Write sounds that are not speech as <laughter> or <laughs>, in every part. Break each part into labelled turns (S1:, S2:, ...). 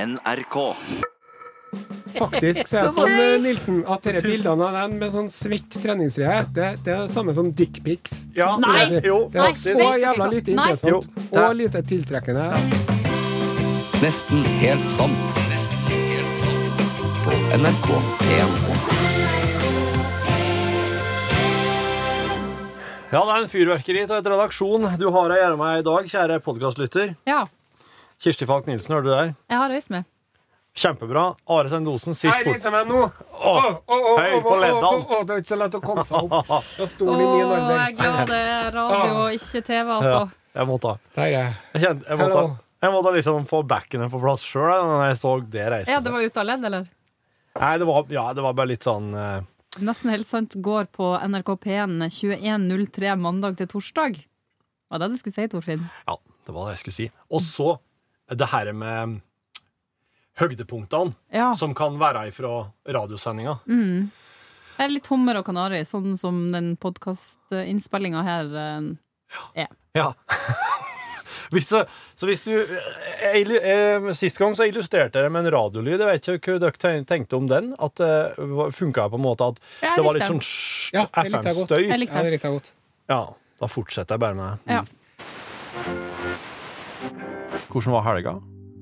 S1: NRK.
S2: Faktisk så er det sånn, eh, Nilsen, at disse bildene av den med sånn svitt treningstrøye, det, det er det samme som dickpics.
S3: Ja,
S4: Nei!
S3: det- Jo,
S2: Det er
S3: faktisk.
S2: så jævla lite
S4: Nei.
S2: interessant
S3: Jo.
S2: og lite tiltrekkende.
S1: Nesten helt sant. Nesten helt sant. På NRK1.
S3: Ja, det er en fyrverkeri av et redaksjon du har her gjennom meg i dag, kjære podkastlytter.
S4: Ja,
S3: Kirsti Falk Nilsen, hører du der?
S4: jeg har øyst med.
S3: Kjempebra. Are Sendosen, sitt fort.
S2: meg nå!
S3: Å, Høy på leddene.
S2: Det var ikke så lett å komme seg opp fra
S4: Å,
S2: stolen
S4: jeg er glad det er radio og ikke TV, altså.
S3: Ja, jeg måtte ha.
S2: Dette
S3: Jeg, kjente, jeg, måtte,
S2: Hello.
S3: jeg måtte liksom få backene på plass sjøl da jeg så det reise
S4: Ja, det var ute av ledd, eller?
S3: seg. Nei, det var, ja, det var bare litt sånn eh,
S4: Nesten helt sant går på NRK P1 21.03 mandag til torsdag. Hva var det du skulle si, Torfinn?
S3: Ja, det var det jeg skulle si. Og så det her med høydepunktene
S4: Ja.
S3: som kan være ifra radiosendinga.
S4: Mm. Jeg er litt hummer og kanari, sånn som den podkastinnspillinga her. eh,
S3: Ja. <laughs> hvis, så, så hvis du jeg, illu- eh, Sist gang så illustrerte jeg det med en radiolyd. Jeg vet ikke hva dere ten- tenkte om den. At det funka på en måte at
S4: Jeg
S3: det var litt
S4: likte den.
S3: sånn sj-
S2: Ja, jeg likte det godt.
S3: FM-støy.
S4: Jeg likte
S2: Ja,
S4: den.
S2: det likte jeg godt.
S3: Ja, da fortsetter jeg bare med det.
S4: Ja.
S3: Hvordan var helga?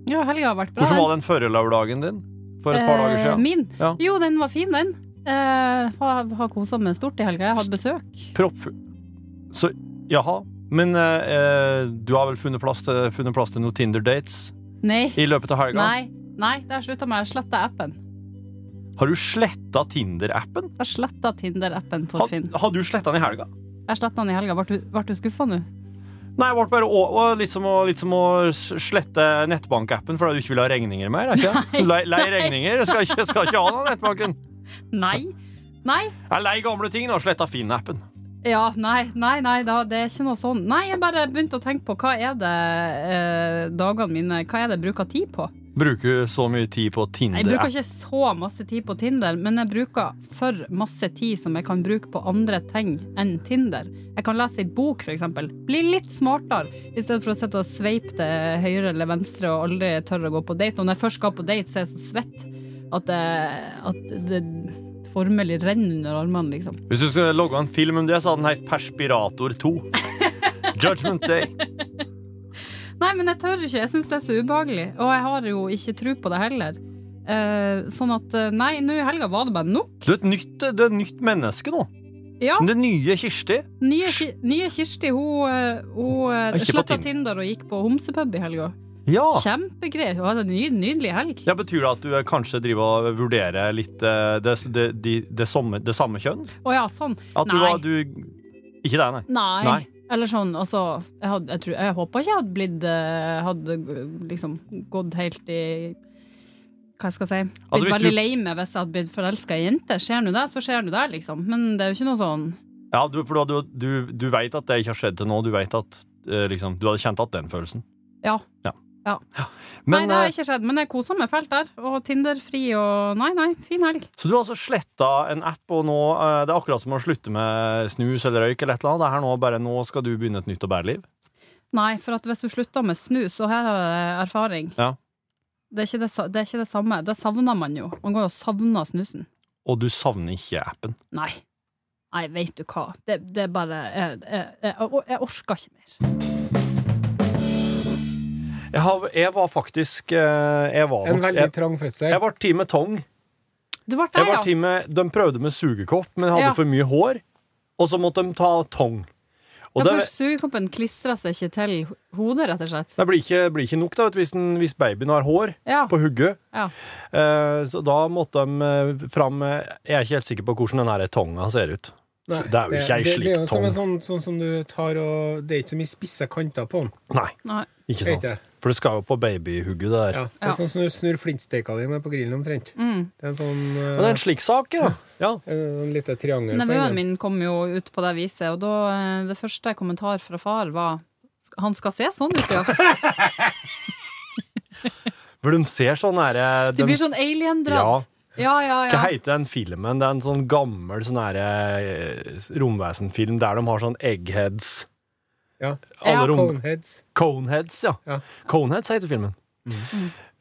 S4: ja, helga har vært bra.
S3: Hvordan
S4: den.
S3: var den førre lørdagen din? For et par dager
S4: Eh,
S3: siden.
S4: Min?
S3: Ja.
S4: Jo, den var fin, den. Eh, har har kosa meg stort i helga. Jeg hadde besøk.
S3: Proppfull. Så jaha. Men eh, du har vel funnet plass til, funnet plass til noen Tinder-dates
S4: Nei.
S3: i løpet av helga?
S4: Nei. Nei, det har jeg slutta med. Jeg sletta appen.
S3: Har du sletta Tinder-appen?
S4: Jeg sletta Tinder-appen,
S3: Har,
S4: Torfinn.
S3: har du sletta den i helga?
S4: Jeg sletta den i helga. Ble du, ble du skuffa nå?
S3: Nei, det ble bare å, å, litt, som å, litt som å s- slette nettbankappen fordi du ikke vil ha regninger mer. Er ikke? det? Lei, lei regninger. Jeg skal ikke, skal ikke ha den nettbanken.
S4: Nei. Nei.
S3: Jeg er lei gamle ting og sletta Finn-appen.
S4: Ja, nei, nei, nei da, det er ikke noe sånn. Nei, jeg bare begynte å tenke på hva er det eh, dagene mine Hva er det jeg bruker tid på?
S3: Bruker du så mye tid på
S4: Jeg
S3: Tinder?
S4: bruker ikke så masse tid på Tinder, men jeg bruker for masse tid som jeg kan bruke på andre ting enn Tinder. Jeg kan lese ei bok, for eksempel. Bli litt smartere, i stedet for å sitte og sveipe til høyre eller venstre og aldri tørre å gå på date. Og når jeg først skal på date, så er jeg så svett at det, at det formelig renner under armene, liksom.
S3: Hvis du skulle logge en film om det, så hadde den hett Perspirator 2.
S4: <laughs>
S3: Judgment Day.
S4: Nei, men jeg tør ikke. Jeg syns det er så ubehagelig. Og jeg har jo ikke tro på det heller. Eh, sånn at eh, Nei, nå i helga var det bare nok.
S3: Du er et nytt, du er et nytt menneske nå.
S4: Ja.
S3: Det nye Kirsti.
S4: Nye, Ki- nye Kirsti hun, eh, hun eh,
S3: Ikke på
S4: sletta
S3: Tinder.
S4: Tinder og gikk på homsepub i helga.
S3: Ja.
S4: Kjempegreit. Hun hadde en ny, nydelig helg.
S3: Det betyr det at du kanskje driver og vurderer litt eh, det, det, de- det, samme, det samme kjønn?
S4: Å ja, sånn.
S3: At du
S4: Nei.
S3: var du, Ikke deg, nei.
S4: Nei.
S3: Nei.
S4: Eller sånn, altså Jeg, hadde, jeg, tror, jeg håper ikke jeg hadde blitt eh, Hadde eh, liksom gått helt i Hva skal jeg si? Blitt
S3: Altså, hvis
S4: veldig
S3: du-
S4: lei meg hvis jeg hadde blitt forelska i jenter. Skjer nå det, så skjer nå det, liksom. Men det er jo ikke noe sånn
S3: Ja, du, for du, du, du veit at det ikke har skjedd til nå. Du vet at eh, liksom, du hadde kjent at den følelsen.
S4: Ja.
S3: Men,
S4: nei, det har
S3: eh,
S4: ikke skjedd, men jeg koser meg fælt der. Og Tinder-fri og Nei, nei, fin helg.
S3: Så du har altså sletta en app, og nå eh, det er akkurat som å slutte med snus eller røyk. eller et eller annet. Det er her nå bare nå skal du begynne et nytt og bedre liv.
S4: Nei, for at hvis du slutter med snus, og her er det erfaring
S3: Ja.
S4: det, er ikke det, sa- det er ikke det samme. Det savner man jo. Man går jo og savner snusen.
S3: Og du savner ikke appen.
S4: Nei. Nei, veit du hva. Det, det er bare jeg, jeg, jeg, jeg orker ikke mer.
S3: Jeg, har, jeg var faktisk eh, Jeg var,
S2: En
S3: nok-
S2: veldig
S3: jeg,
S2: trang fødsel.
S3: jeg var teamet Tong.
S4: Du ble
S3: Jeg
S4: der,
S3: var
S4: ja.
S3: til med, de prøvde med sugekopp, men hadde
S4: Ja.
S3: for mye hår. Og så måtte de ta tong. Og
S4: ja
S3: det,
S4: for sugekoppen klistrer seg ikke til hodet, rett og slett.
S3: det blir, ikke, blir ikke nok da, vet du, hvis, den, hvis babyen har hår
S4: Ja.
S3: på hugget.
S4: ja.
S3: Eh, så da måtte de eh, fram eh, Jeg er ikke helt sikker på hvordan den her tonga ser ut.
S2: Nei,
S3: Så det er jo ikke ei
S2: det- Det er
S3: slik
S2: jo som
S3: tong.
S2: en sånn, sånn som du tar og Det er ikke så mye spisse kanter på den.
S3: Nei,
S4: Nei.
S3: ikke
S2: sånn- Vet
S3: sant.
S2: jeg.
S3: For det skal jo på babyhugget, det der.
S2: Ja, det er
S4: Ja.
S2: sånn som du snur flintsteika di med på grillen omtrent.
S4: Mm.
S2: Det er en sånn
S3: Men det
S2: eh,
S3: er en slik sak, ja. ja.
S2: en lite triangel på
S4: Nevøen
S2: enden.
S4: min kom jo ut på det viset, og da eh, Det første kommentar fra far var "Sk- Han skal se sånn ut, ja.
S3: For de ser sånn herre
S4: De blir sånn alien-dratt. Ja, ja, ja.
S3: Hva heter den filmen? Det er en sånn gammel sånn her, eh, romvesenfilm der de har sånn eggheads.
S2: Ja.
S4: Ja.
S3: Alle rom
S2: Coneheads.
S3: Coneheads, ja.
S2: Ja.
S4: Mm.
S3: Coneheads heter filmen.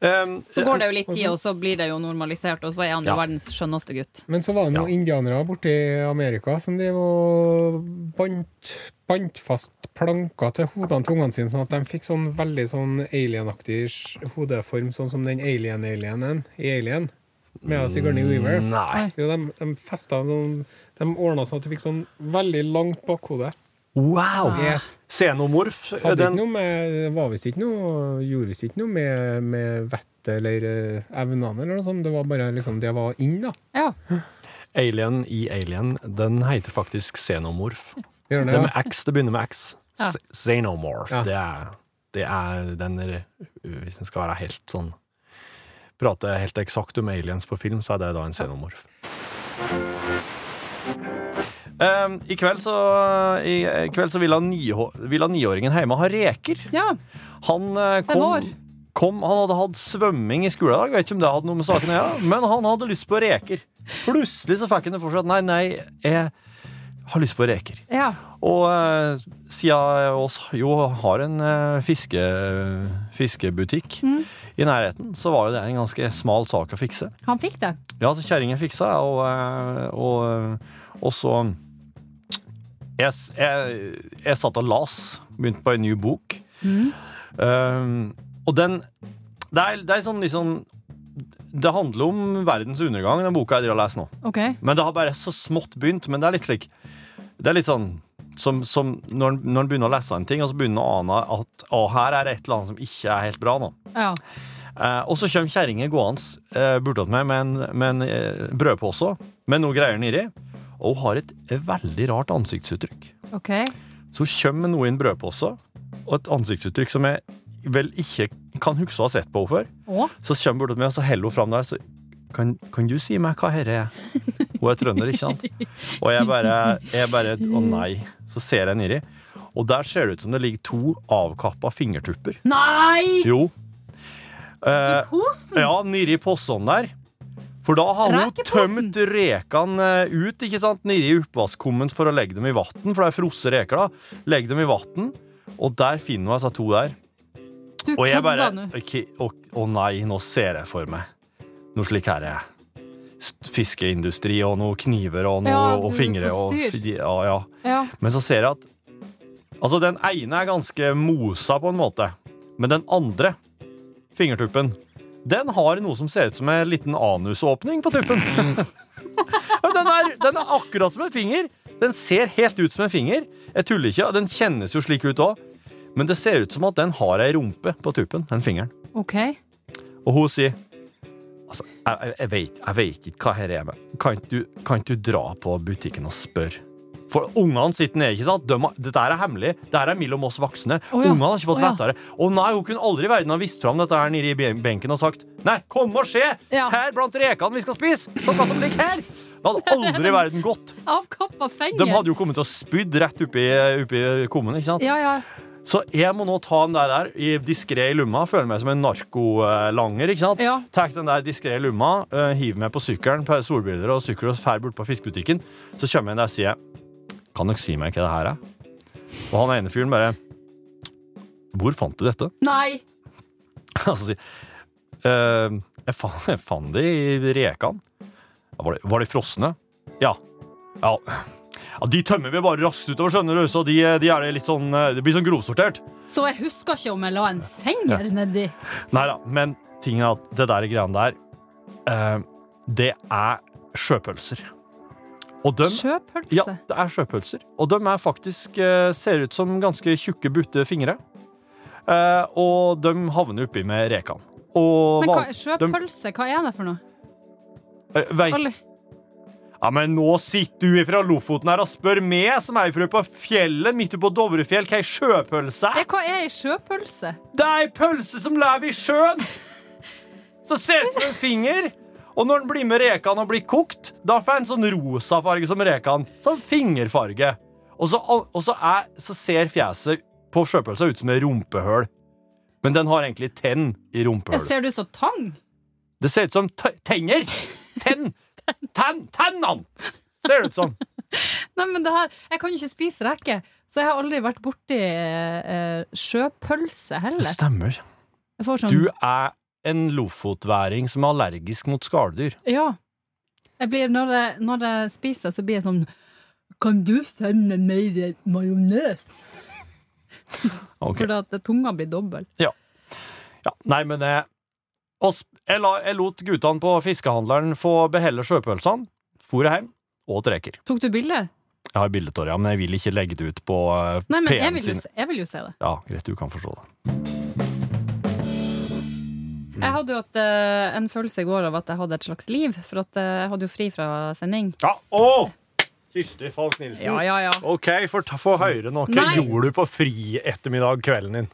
S3: Um,
S4: Så går det jo litt tid, og så blir det jo normalisert, og så er han jo
S3: Ja.
S4: verdens skjønneste gutt.
S2: Men så var det noen indianere borte i Amerika som drev og bandt bandt fast planker til hodene til ungene sine, sånn at de fikk sånn veldig sånn alien-aktig s- hodeform, sånn som den alien-alienen i Alien, med Sigourney Weaver.
S3: Nei.
S2: Jo, de, de festa en sånn De ordna sånn at du fikk sånn veldig langt bakhode.
S3: Wow!
S2: Yes.
S3: Xenomorf.
S2: Hadde
S3: Den,
S2: ikke noe med, var visst ikke noe, gjorde visst ikke noe med, med vettet eller eh, evnene eller noe sånt. Det var bare liksom Det var inn, da.
S4: Ja.
S3: Alien i Alien, den heter faktisk Xenomorf.
S2: Gjør
S3: Det
S2: det,
S3: er
S2: ja.
S3: med X, det begynner med X.
S4: Ja.
S3: Z- Xenomorph.
S2: Ja.
S3: Det, er, det er den er- Hvis en skal være helt sånn Prate helt eksakt om aliens på film, så er det da en xenomorph. Um, I kveld så, i, i kveld så vil, han nihå- vil han niåringen hjemme ha reker.
S4: ja.
S3: Han eh, kom,
S4: vår.
S3: kom Han hadde hatt svømming i skolen i dag, vet ikke om det hadde noe med saken å gjøre, men han hadde lyst på reker. Plutselig så fikk han det for seg at nei, nei, jeg har lyst på reker.
S4: ja.
S3: Og eh, siden oss jo har en eh, fiske, fiskebutikk i nærheten, så var jo det en ganske smal sak å fikse.
S4: Han fikk det.
S3: Ja, så kjerringa fiksa, og, eh, og, eh, og så jeg, s- jeg, jeg satt og las, begynte på en ny bok. Um, og den Det er, det er sånn liksom Det handler om verdens undergang, den boka jeg driver og leser nå.
S4: OK.
S3: Men det har bare så smått begynt. Men det er litt slik Det er litt sånn som, som når, en- når en begynner å lese en ting, og så begynner en å ane at å, her er det et eller annet som ikke er helt bra nå.
S4: Ja.
S3: Eh, og så kommer kjerringa gående eh, bortåt meg med en, med en eh, brødpose med noe greier nedi. Og hun har et veldig rart ansiktsuttrykk.
S4: OK.
S3: Så hun kommer med noe i en brødpose, og et ansiktsuttrykk som jeg vel ikke kan huske å ha sett på henne før.
S4: Å?
S3: Så kommer hun bortåt meg, og så heller hun fram der. Så kan, kan du si meg hva dette er? Hun er trønder, ikke sant? Og jeg bare, jeg bare Å nei. Så ser jeg nedi, og der ser det ut som det ligger to avkappa fingertupper.
S4: Nei!
S3: Jo.
S4: I
S3: Eh,
S4: posen!
S3: ja, nedi posen der. For da har hun
S4: Rekeposen.
S3: tømt rekene eh, ut ikke sant? nedi oppvaskkummen for å legge dem i vann. For det er frosse reker. da. Legg dem i vann, og der finner hun altså to der.
S4: Du
S3: Og jeg bare
S4: kødda nå.
S3: ok, Å å nei, nå ser jeg for meg noe slik her er. St- Fiskeindustri og noe kniver og noe
S4: Ja, du
S3: og
S4: er
S3: fingre
S4: på
S3: og
S4: styr.
S3: fi- ja, ja.
S4: Ja.
S3: Men så ser jeg at Altså, den ene er ganske mosa på en måte, men den andre fingertuppen den har noe som ser ut som en liten anusåpning på tuppen. Ja, den, er, den er akkurat som en finger. Den ser helt ut som en finger. Jeg tuller ikke, og den kjennes jo slik ut òg. Men det ser ut som at den har ei rumpe på tuppen, den fingeren.
S4: OK.
S3: Og hun sier Altså, jeg, jeg- jeg, vet, jeg vet ikke hva her er med. Kan ikke du, kan ikke du dra på butikken og spørre? For ungene sitter nede, ikke sant? De, har- dette her er hemmelig. Dette her er mellom oss voksne.
S4: Å ja.
S3: Ungene har ikke fått
S4: Å ja.
S3: vite det. Og nei, hun kunne aldri i verden ha vist fram dette her nede i ben- benken og sagt Nei, kom og se!
S4: Ja.
S3: Her blant rekene vi skal spise! Se hva som ligger her! Det hadde aldri i verden
S4: <laughs>
S3: gått.
S4: Avkappa
S3: De
S4: fenger.
S3: hadde jo kommet til å spydd rett oppi, oppi kummen, ikke sant?
S4: Ja, ja.
S3: Så jeg må nå ta den der her i diskré i lomma. Føler meg som en narkolanger. ikke sant?
S4: Ja.
S3: Tar den der diskré i lomma, eh, hiver meg på sykkelen, på solbriller og sykkel og drar bort på fiskebutikken. Så kommer jeg inn der og sier Kan dere si meg hva det her er? Og han ene fyren bare Hvor fant du dette? <laughs>
S4: Nei!
S3: Og så sier «Eh, jeg, fan, jeg fant det i rekene. Ja, Var, det- var de frosne? Ja. ja. Ja, De tømmer vi bare raskt utover, skjønner du, så de, de er det litt sånn, eh, det blir sånn grovsortert.
S4: Så jeg husker ikke om jeg la en finger nedi.
S3: Nei da, men tingen er at det der greiene der, eh, det er sjøpølser. Og dem, ja,
S4: Sjøpølse.
S3: det er sjøpølser. Og de er faktisk, eh, ser ut som ganske tjukke, butte fingre. Eh, og de havner oppi med rekene. Og
S4: Men hva,
S3: van-
S4: sjøpølse, hva er det for noe?
S3: eh, vei-
S4: Alle-
S3: Ja, men nå sitter du fra Lofoten her og spør meg, som er fra på fjellet, midt ute på Dovrefjell, hva er sjøpølse?
S4: Ja, Hva er ei sjøpølse?
S3: Det er ei pølse som lever i sjøen! Så ser det ut som en finger. Og når den blir med rekene og blir kokt, da får den sånn rosa farge som rekene. Sånn fingerfarge. Og så, og så, er, så ser fjeset på sjøpølsa ut som et rumpehøl. Men den har egentlig tenn i
S4: Jeg
S3: rumpehølet.
S4: ser du så tang?
S3: Det ser ut som te- tenner! Tenn! Tenn! Tennene! Ser det ut som.
S4: Nei, men det her, Jeg kan jo ikke spise reker, så jeg har aldri vært borti eh, eh, sjøpølse
S3: Det
S4: heller.
S3: stemmer.
S4: Jeg får sånn
S3: Du er en lofotværing som er allergisk mot skalldyr.
S4: Ja. Jeg blir, når, jeg, når jeg spiser det, så blir jeg sånn Kan du sende meg majones?
S3: Ok.
S4: Fordi at tunga blir dobbel.
S3: Ja, nei, men jeg, og sp- jeg, la, jeg lot guttene på fiskehandleren få beholde sjøpølsene, for hjem og åt reker.
S4: Tok du bilde?
S3: Jeg har bilde av det, ja, men jeg vil ikke legge det ut på eh,
S4: Nei, men jeg
S3: PM
S4: vil, jo,
S3: sin.
S4: se- jeg vil jo se det.
S3: Ja, greit, du kan forstå det. Mm.
S4: Jeg hadde jo hatt eh, en følelse i går av at jeg hadde et slags liv, for at eh, jeg hadde jo fri fra sending.
S3: Ja, å! Kirsti Falk Nilsen.
S4: Ja, ja, ja.
S3: Ok, for ta- få høre nå. Hva
S4: Nei.
S3: gjorde du på fri ettermiddag kvelden din?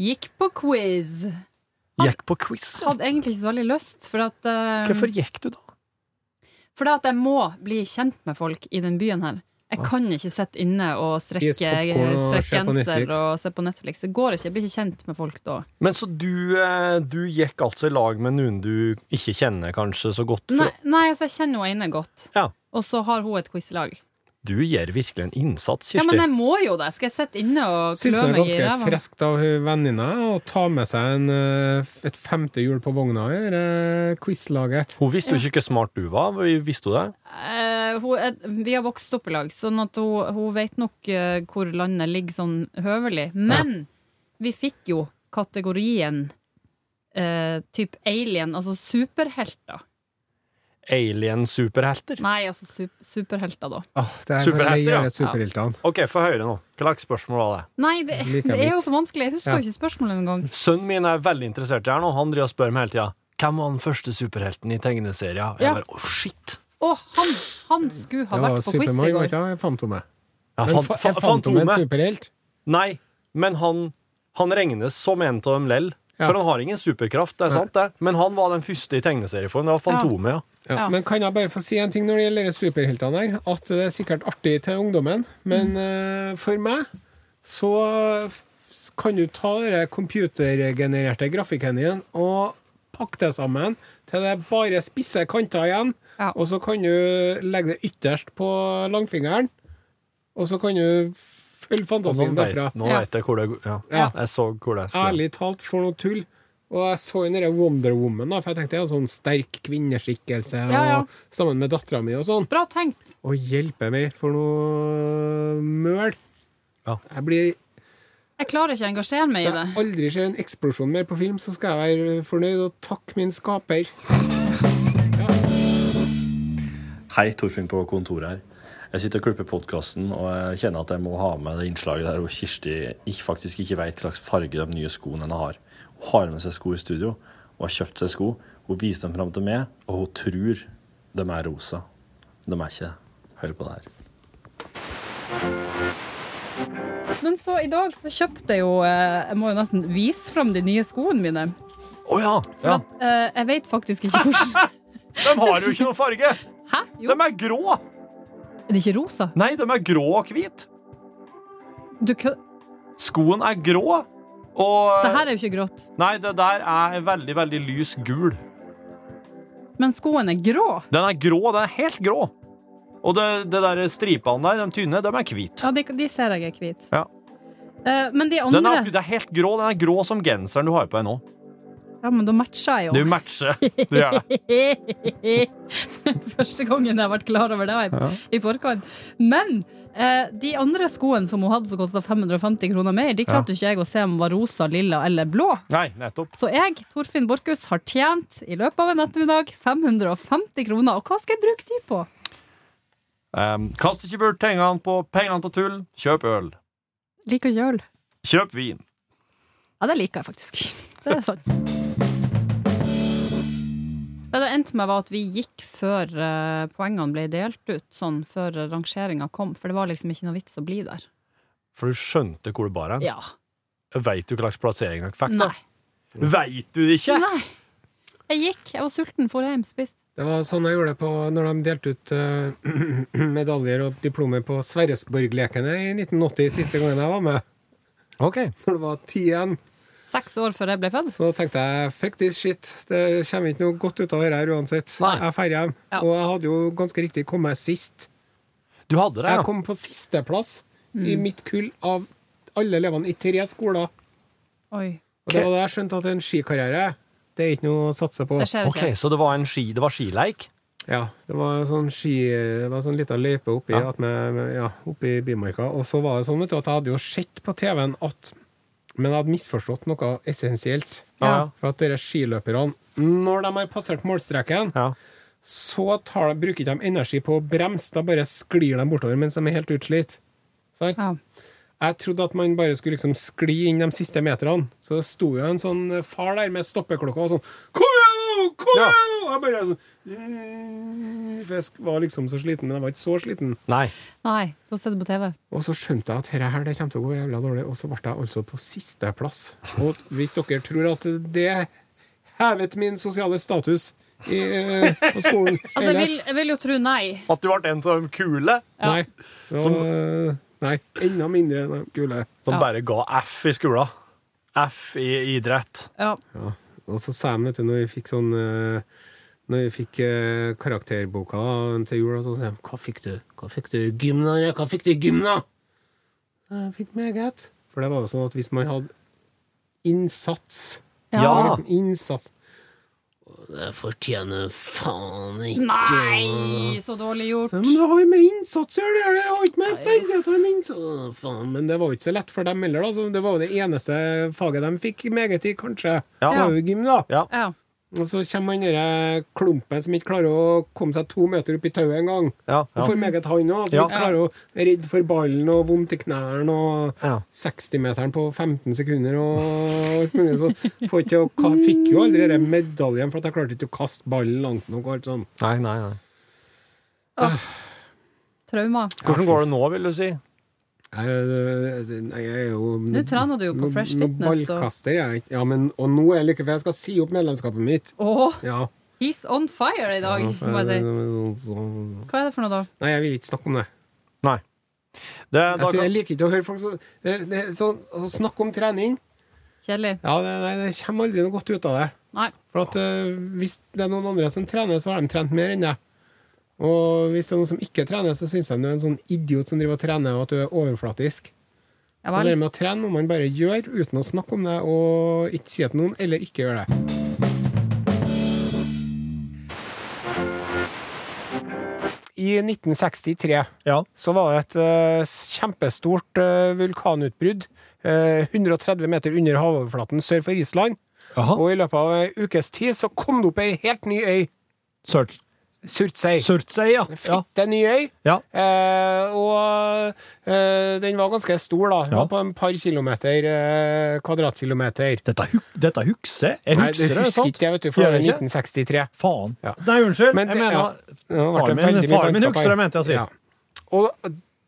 S4: Gikk på quiz.
S3: Gikk på quiz.
S4: Hadde egentlig ikke så veldig lyst, for at eh,
S3: Hvorfor gikk du, da?
S4: For det at jeg må bli kjent med folk i den byen her. Jeg kan ikke sitte inne og strekke,
S2: Spise popcorn og Ah.
S4: strekke
S2: se på
S4: genser
S2: Netflix.
S4: og se på Netflix. Det går ikke. Jeg blir ikke kjent med folk da.
S3: Men så du, eh, du gikk altså i lag med noen du ikke kjenner kanskje så godt?
S4: Nei,
S3: For
S4: nei altså jeg kjenner henne inne godt.
S3: Ja.
S4: Og så har hun et quizlag.
S3: du gjør virkelig en innsats,
S4: Ja,
S3: Kirsti.
S4: men jeg må jo det! Skal jeg sitte inne og klø
S2: Synes det er
S4: meg i
S2: ganske
S4: ræva?
S2: friskt av hun venninna å ta med seg en, eh, et femte hjul på vogna i det eh, quizlaget.
S3: Hun visste jo ikke hvor smart du var. Vi- Visste hun det?
S4: Eh, hun er, vi har vokst opp i lag, sånn at hun, hun vet nok eh, hvor landet ligger sånn høvelig. Men vi fikk jo kategorien eh, type alien, altså superhelter.
S3: Alien-superhelter?
S4: Nei, altså sup superhelter, da.
S2: Åh, det er så
S3: Ah, Superhelter,
S2: lei
S3: ja.
S2: av de superheltene.
S3: Ok, få høre nå. Hva slags spørsmål var det?
S4: Nei, det,
S2: Liker
S4: det
S2: mitt.
S4: er jo så vanskelig. Jeg husker
S2: Ja.
S4: jo ikke spørsmålet engang.
S3: Sønnen min er veldig interessert i det her nå. Han driver og spør meg hele tida. Hvem var den første superhelten i tegneserien? Jeg
S4: Ja.
S3: bare, å shit!
S4: Å, han, han skulle
S2: Det
S4: ha
S2: var
S4: vært på quiz i
S2: Supermann, var
S4: går.
S2: ikke det? Fantomet.
S3: Ja,
S2: Men
S3: fan,
S2: fa-
S3: fa,
S2: er Fantomet
S3: Fantomet.
S2: en superhelt?
S3: Nei, men han, han regnes som en av dem lell.
S2: Ja.
S3: For han har ingen superkraft, det er sant det. Men han var den første i tegneserieform. Det var Fantomet, ja.
S2: Ja.
S4: Ja.
S2: Men kan jeg bare få si en ting når det gjelder de superheltene her? At det er sikkert artig til ungdommen, men eh, for meg så f- kan du ta den computergenererte grafikken din og pakke det sammen til det er bare spisse kanter igjen,
S4: Ja.
S2: og så kan du legge det ytterst på langfingeren, og så kan du følge
S3: Og nå
S2: fantasien derfra.
S3: vet, nå
S4: Ja.
S3: vet jeg hvor det ja.
S2: Ja.
S3: Jeg så hvor det skulle.
S2: Ærlig talt, for noe tull. Og jeg så den der Wonder Woman, da, for jeg tenkte det er en sånn sterk kvinneskikkelse,
S4: Ja, ja.
S2: Og, sammen med dattera mi og sånn.
S4: Bra tenkt.
S2: Å hjelpe meg for noe møl.
S3: Ja.
S2: Jeg blir,
S4: Jeg klarer ikke å engasjere
S2: så
S4: meg i det.
S2: jeg aldri ser en eksplosjon mer på film, så skal jeg være fornøyd og takke min skaper.
S5: Hei, Torfinn på kontoret her. Jeg sitter og klipper podkasten, og jeg kjenner at jeg må ha med det innslaget der hvor Kirsti ikke, faktisk ikke veit hva slags farge de nye skoene henne har. Hun har med seg sko i studio, og har kjøpt seg sko. Hun viser dem fram til meg, og hun tror de er rosa. Men De er ikke det. Hør på det her.
S4: Men så i dag så kjøpte jeg jo eh, Jeg må jo nesten vise fram de nye skoene mine.
S3: Å ja!
S4: For
S3: ja.
S4: at, eh, jeg vet faktisk ikke
S2: <laughs>
S4: hvordan
S3: De har jo ikke noen farge!
S4: Hæ? Jo,
S3: De er grå!
S4: er det ikke rosa?
S3: Nei, de er grå og hvit.
S4: Du kø...
S3: Skoen er grå, og
S4: Det her er jo ikke grått.
S3: Nei, det der er veldig, veldig lys gul.
S4: Men skoene er grå.
S3: Den er grå, den er helt grå. Og det, det der stripene der, de tynne, de er hvite.
S4: Ja, de, de ser jeg er hvite.
S3: Ja.
S4: Eh, men de
S3: Den er,
S4: andre
S3: det er helt grå, den er grå som genseren du har på deg nå.
S4: Ja, men da matcher jeg jo.
S3: Du
S4: <laughs>
S3: matcher. Du gjør det.
S4: Første gangen jeg har vært klar over det i, i forkant. Men eh, de andre skoene som hun hadde som kosta 550 kroner mer, de klarte ikke jeg å se om var rosa, lilla eller blå.
S3: Nei, nettopp.
S4: Så jeg, Torfinn Borchhus, har tjent i løpet av en ettermiddag 550 kroner. Og hva skal jeg bruke de på?
S3: Um, kast ikke bort pengene på, pengene på tull. Kjøp øl.
S4: Liker ikke øl.
S3: Kjøp vin.
S4: Ja, det liker jeg faktisk. <laughs> Det er sant. Det det endte med var at vi gikk før eh, poengene ble delt ut, sånn før rangeringa kom, for det var liksom ikke noe vits å bli der.
S3: For du skjønte hvor det bar hen.
S4: Ja.
S3: Veit du hva slags plassering dere fikk? da?
S4: Nei.
S3: Veit du det ikke?
S4: <laughs> Nei. Jeg gikk. Jeg var sulten, for hjem, spist.
S2: Det var sånn jeg gjorde det på når de delte ut eh, <clears throat> medaljer og diplomer på Sverresborg-lekene i 1980, siste gangen jeg var med.
S3: Ok.
S2: Når det var ti igjen.
S4: Seks år før jeg ble født.
S2: Så da tenkte jeg fuck this shit, det kommer ikke noe godt ut av det her uansett.
S3: Nei.
S2: Jeg drar hjem.
S4: Ja.
S2: Og jeg hadde jo ganske riktig kommet sist.
S3: Du hadde det,
S2: Jeg
S3: ja.
S2: kom på sisteplass i mitt kull av alle elevene i tre skoler.
S4: Oi.
S2: Og det var da jeg skjønte at en skikarriere Det er ikke noe å satse på.
S4: Det skjer
S3: Ok,
S4: ikke.
S3: Så det var, en ski, det var skileik?
S2: Ja, det var sånn ski Det var sånn liten løype oppi,
S3: Ja.
S2: at med, med- ja, oppi Bymarka. Og så var det sånn vet du, at jeg hadde jo sett på TV-en at Men jeg hadde misforstått noe essensielt.
S3: Ja.
S2: For at dere skiløperne, når de har passert målstreken,
S3: Ja.
S2: så tar de, bruker de ikke energi på å bremse. Da bare sklir de bortover mens de er helt utslitt. Sant?
S4: Ja.
S2: Jeg trodde at man bare skulle liksom skli inn de siste meterne. Så det sto jo en sånn far der med stoppeklokka og sånn Kom igjen, nå! Kom
S3: Ja.
S2: igjen! nå!» Jeg bare sånn «Eh», For jeg sk- var liksom så sliten, men jeg var ikke så sliten.
S3: Nei.
S4: Nei, da ser du på TV.
S2: Og så skjønte jeg at dette her det kommer til å gå jævla dårlig, og så ble jeg altså på sisteplass. Og hvis dere tror at det hevet min sosiale status i, eh, på skolen
S4: <laughs> Altså, jeg vil, jeg vil jo tro nei.
S3: At du ble en sånn kule
S4: Ja.
S2: Nei. Det var, nei. Enda mindre enn de kule.
S3: som
S4: Ja.
S3: bare ga F i skolen. F i idrett.
S4: Ja.
S2: Og så sa de, vet du, når vi fikk sånn eh, Når vi fikk eh, karakterboka til jul, og så sa de Hva fikk du? Hva fikk du i gym, da? Hva fikk du i gym, da? Jeg fikk meget. For det var jo sånn at hvis man hadde innsats
S4: Ja.
S2: det
S3: Ja.
S2: var liksom innsats Det fortjener faen ikke
S4: Nei, så dårlig gjort.
S2: Så, Men det har jo med innsats å gjøre, det her, det har ikke med ferdigheter med innsats Å, faen, Men det var jo ikke så lett for dem heller, da. Så det var jo det eneste faget de fikk meget i, kanskje.
S3: Ja.
S2: Det var jo gym, da.
S3: Ja.
S4: Ja.
S2: Og så kommer han derre klumpen som ikke klarer å komme seg to meter opp i tauet en gang.
S3: Ja,
S2: Og
S3: ja.
S2: får meget han òg, som
S3: Ja.
S2: ikke klarer å være redd for ballen og vondt i knærne og
S3: Ja.
S2: 60-meteren på 15 sekunder og alt mulig sånn. Får ikke til å ka- Fikk jo aldri den medaljen for at jeg klarte ikke å kaste ballen langt nok og alt sånn.
S3: Nei, nei, nei.
S4: Trauma.
S3: Hvordan går det nå, vil du si?
S2: Jeg, jeg, jeg er jo
S4: Nå trener du jo på
S2: noe-
S4: Fresh
S2: noe
S4: Fitness, så-
S2: Ballkaster, jeg. Ja, men, og nå er jeg lykkelig, for jeg skal si opp medlemskapet mitt.
S4: Åh,
S2: Ja. Eh,
S4: he's on fire i dag, må jeg si. Hva er det for noe, da?
S2: Nei, jeg vil ikke snakke om det.
S3: Nei. Det, da
S2: Altså, jeg
S3: kan,
S2: liker ikke å høre folk så, det, det, så, altså, snakke om trening.
S4: Kjedelig?
S2: Ja, det, nei, det kommer aldri noe godt ut av det.
S4: Nei.
S2: For at, eh, Hvis det er noen andre som trener, så har de trent mer enn deg. Og hvis det er noen som ikke trener, så syns de du er en sånn idiot som driver og trener, og at du er overflatisk.
S4: Ja
S2: Så det
S4: vel.
S2: med å trene må man bare gjøre uten å snakke om det, og ikke si det til noen, eller ikke gjøre det. I 1963
S3: ja.
S2: så var det et eh, kjempestort eh, vulkanutbrudd eh, 130 meter under havoverflaten sør for Island.
S3: Jaha.
S2: Og i løpet av ei ukes tid så kom det opp ei helt ny øy,
S3: Sur-
S2: Surtsey.
S3: Surtsey, ja. ja.
S2: Fitte ny øy.
S3: Ja.
S2: Eh, og eh, den var ganske stor, da. Den
S3: Ja.
S2: var På en par kilometer, eh, kvadratkilometer.
S3: Dette, huk- dette hukser jeg. Jeg
S2: Nei,
S3: hukser
S2: du
S3: det,
S2: husker
S3: sant?
S2: ikke det, vet du, for
S3: Gjør
S2: det er
S3: jeg ikke?
S2: 1963.
S3: Faen.
S2: Ja.
S3: Nei, unnskyld.
S2: Men det-
S3: jeg mener
S2: ja. Det har vært
S3: Faren
S2: en
S3: min-
S2: veldig mye
S3: faren min
S2: landskap
S3: husker
S2: her.
S3: det, mente jeg å si.
S2: Og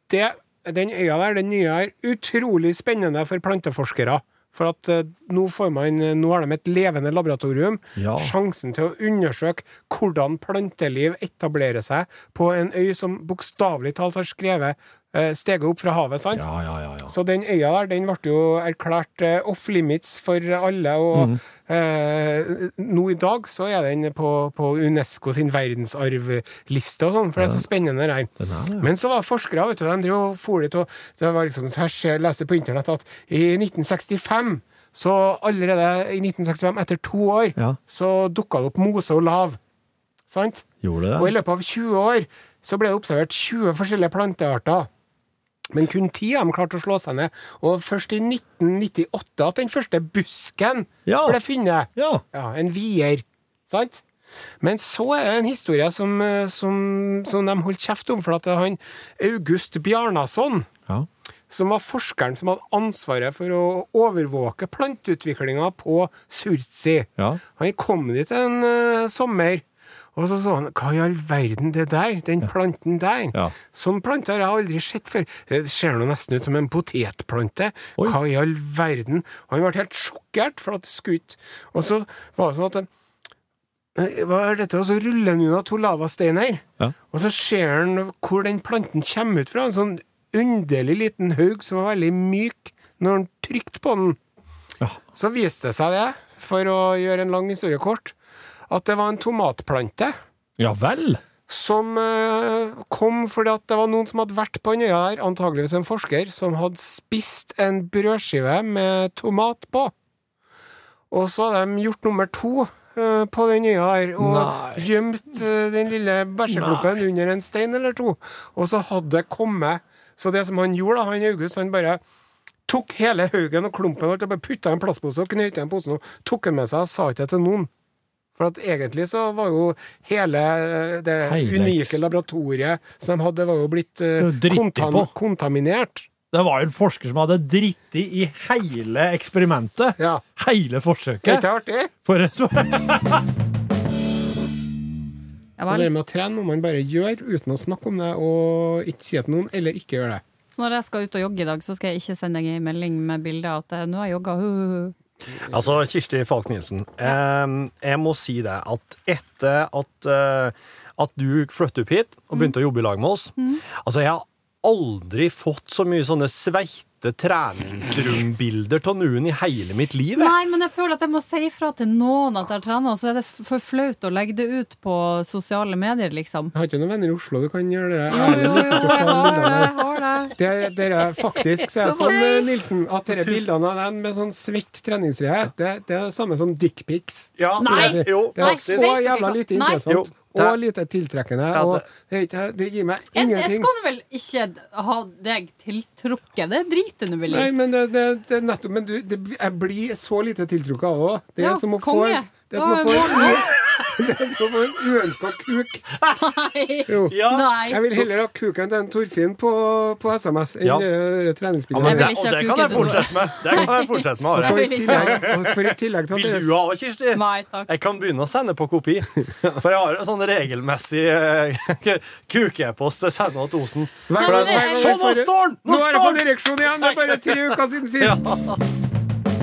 S2: det, den øya der, den nye er utrolig spennende for planteforskere. For at eh, nå, får man, nå har de et levende laboratorium.
S3: Ja.
S2: Sjansen til å undersøke hvordan planteliv etablerer seg på en øy som bokstavelig talt har skrevet eh, steget opp fra havet. sant?
S3: Ja, ja, ja, ja.
S2: Så den øya der, den ble jo erklært eh, off limits for alle, og eh, nå i dag så er den på, på UNESCO sin verdensarvliste og sånn, for det er så spennende det her. Men så var det forskere, vet du, de drev og for litt, og det var liksom, så her ser, leser jeg på internett at i 1965, så allerede i 1965, etter to år,
S3: Ja.
S2: så dukket det opp mose og lav. Sant?
S3: Gjorde
S2: Og
S3: det?
S2: i løpet av 20 år så ble det observert 20 forskjellige plantearter. Men kun ti av dem klarte å slå seg ned. Og først i 1998 at den første busken
S3: Ja.
S2: ble funnet.
S3: Ja.
S2: Ja, En vier. Sant? Men så er det en historie som, eh, som, som de holdt kjeft om, for at det er han August Bjarnason
S3: ja.
S2: som var forskeren som hadde ansvaret for å overvåke planteutviklinga på Surtsi.
S3: Ja.
S2: Han kom dit en eh, sommer, og så sa han hva i all verden det der, den planten der?
S3: Ja.
S2: Sånn plante har jeg aldri sett før. Eh, Det ser nå nesten ut som en potetplante.
S3: Oi.
S2: Hva i all verden? Han ble helt sjokkert, for at det skulle ikke Og så var det sånn at eh, hva er dette? Og så ruller han unna to lavasteiner.
S3: Ja.
S2: Og så ser han hvor den planten kommer ut fra. En sånn underlig liten haug som var veldig myk når han trykte på den.
S3: Ja.
S2: Så viste det seg det, for å gjøre en lang historie kort, at det var en tomatplante
S3: ja vel?
S2: som eh, kom fordi at det var noen som hadde vært på den øya der, antageligvis en forsker, som hadde spist en brødskive med tomat på. Og så har de gjort nummer to eh, på den øya her, og
S3: Nei.
S2: gjemt eh, den lille bæsjeklumpen under en stein eller to. Og så hadde det kommet Så det som han gjorde, da, han August, han bare tok hele haugen og klumpen og alt, og bare putta i en plastpose og knøyta i en pose og tok den med seg og sa ikke det til noen. For at egentlig så var jo hele eh, det
S6: Hele eks-
S2: unike laboratoriet som de hadde, det var jo blitt eh,
S6: Det var dritt
S2: kontam
S6: på.
S2: kontaminert.
S6: Det var jo en forsker som hadde dritt i hele eksperimentet.
S2: Ja.
S6: Hele
S2: Er ikke
S6: forsøket.
S2: det artig?
S6: For et
S4: Ja
S2: Og det
S4: vel.
S2: med å trene må man bare gjøre uten å snakke om det og ikke si det til noen, eller ikke gjøre det.
S4: Så når jeg skal ut og jogge i dag, så skal jeg ikke sende deg en melding med bilde av at eh, nå har jeg jogga. hu, hu, hu.
S3: Altså, Kirsti Falk Nielsen, eh, jeg må si det at etter at, eh, at du flyttet opp hit og begynte å jobbe i lag med oss Altså, jeg har aldri fått så mye sånne sveite treningsrombilder av noen i hele mitt liv. jeg.
S4: Nei, men jeg føler at jeg må si ifra til noen at jeg trener, og så er det f- for flaut å legge det ut på sosiale medier, liksom.
S2: Jeg har ikke noen venner i Oslo du kan gjøre det.
S4: Jo, jo, jo, jeg har det, jeg har det.
S2: Det, det er faktisk så er det sånn, eh, Nilsen, at disse bildene av den med sånn svett treningsfrihet, det, det er det samme som dickpics.
S3: Ja,
S4: Nei!
S3: det- Jo,
S2: Ah, Det er
S4: Nei,
S2: så
S4: vet
S3: faktisk.
S4: du
S2: jævla
S4: ikke hva-
S2: lite
S4: Nei.
S2: interessant.
S3: Jo, det-
S2: Og lite tiltrekkende.
S3: Ja,
S2: Og
S3: det-
S2: det, er ikke- det gir meg
S4: Jeg, jeg
S2: ingenting.
S4: skal nå vel ikke ha deg tiltrukket. Det driter jeg nå vel i.
S2: Nei, men det, det, det er nettopp Men du, det, jeg blir så lite tiltrukket av det òg. Det
S4: Ja,
S2: er som å få
S4: konge.
S2: Det er som å
S4: Da er
S2: få <laughs> det er som å få en uønska kuk.
S4: Nei.
S2: Jo. Jeg
S4: Nei.
S2: vil heller ha kuken til en Torfinn på, på SMS enn
S3: Ja.
S2: det det
S3: Ja,
S2: treningsbildet.
S4: Jeg
S3: men det,
S4: vil ikke ha
S3: og det kan jeg
S4: kuken til Tore.
S3: fortsette med. Det kan jeg fortsette med.
S2: Og så
S3: Are.
S2: i
S4: Jeg vil ikke ha
S2: tillegg, og for i tillegg til at
S3: Vil
S2: det
S3: du ha det, Kirsti?
S4: Nei takk.
S3: Jeg kan begynne å sende på kopi. For jeg har en sånn regelmessig eh, <laughs> kuke-post jeg sender til Osen.
S2: Hver-
S4: Nei, men
S2: hver-
S4: det er-
S2: hver-
S4: Se,
S3: nå
S2: hver-
S3: står den! Nå
S2: Nå er jeg
S3: står
S2: på
S3: den!
S2: direksjon igjen! Det er bare tre uker siden sist!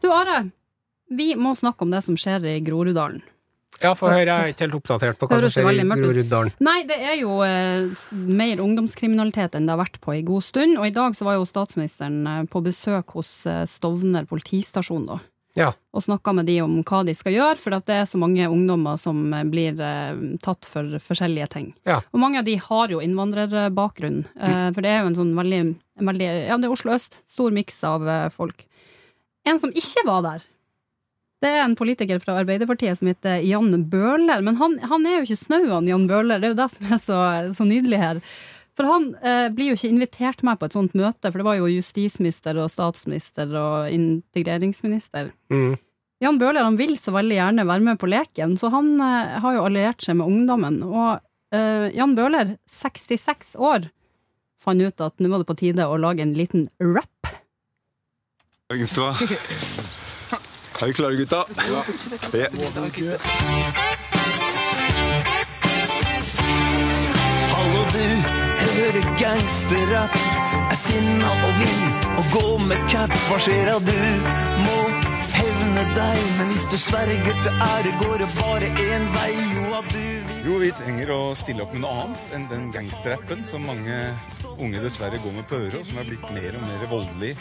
S4: Du, Are. Vi må snakke om det som skjer i Groruddalen.
S2: Ja, for høre, jeg er ikke helt oppdatert på hva som
S4: Høres
S2: skjer i
S4: veldig mørkt ut.
S2: Groruddalen.
S4: Nei, det er jo eh, s- mer ungdomskriminalitet enn det har vært på en god stund. Og i dag så var jo statsministeren eh, på besøk hos eh, Stovner politistasjon, da.
S2: Ja.
S4: Og snakka med de om hva de skal gjøre, for at det er så mange ungdommer som eh, blir eh, tatt for forskjellige ting.
S2: Ja. Mm.
S4: Og mange av de har jo innvandrerbakgrunn. eh, For det er jo en sånn veldig, en veldig Ja, det er Oslo øst. Stor miks av eh, folk. En som ikke var der, det er en politiker fra Arbeiderpartiet som heter Jan Bøhler. Men han, han er jo ikke snau, han Jan Bøhler. Det er jo det som er så, så nydelig her. For han eh, blir jo ikke invitert med på et sånt møte, for det var jo justisminister og statsminister og integreringsminister.
S2: Mm.
S4: Jan Bøhler han vil så veldig gjerne være med på leken, så han eh, har jo alliert seg med ungdommen. Og eh, Jan Bøhler, 66 år, fant ut at nå var det på tide å lage en liten rap.
S7: Øgenstua. Er vi klare, gutta? Ja.
S1: Hallo du, hører gangsterrapp Er sinna og vil og gå med cap Hva skjer da du må hevne deg Men hvis du sverger til ære går det bare en vei Jo at du vil
S7: Jo, vi trenger å stille opp med noe annet enn den gangsterrappen som mange unge dessverre går med på øret, og som er blitt mer og mer voldelig.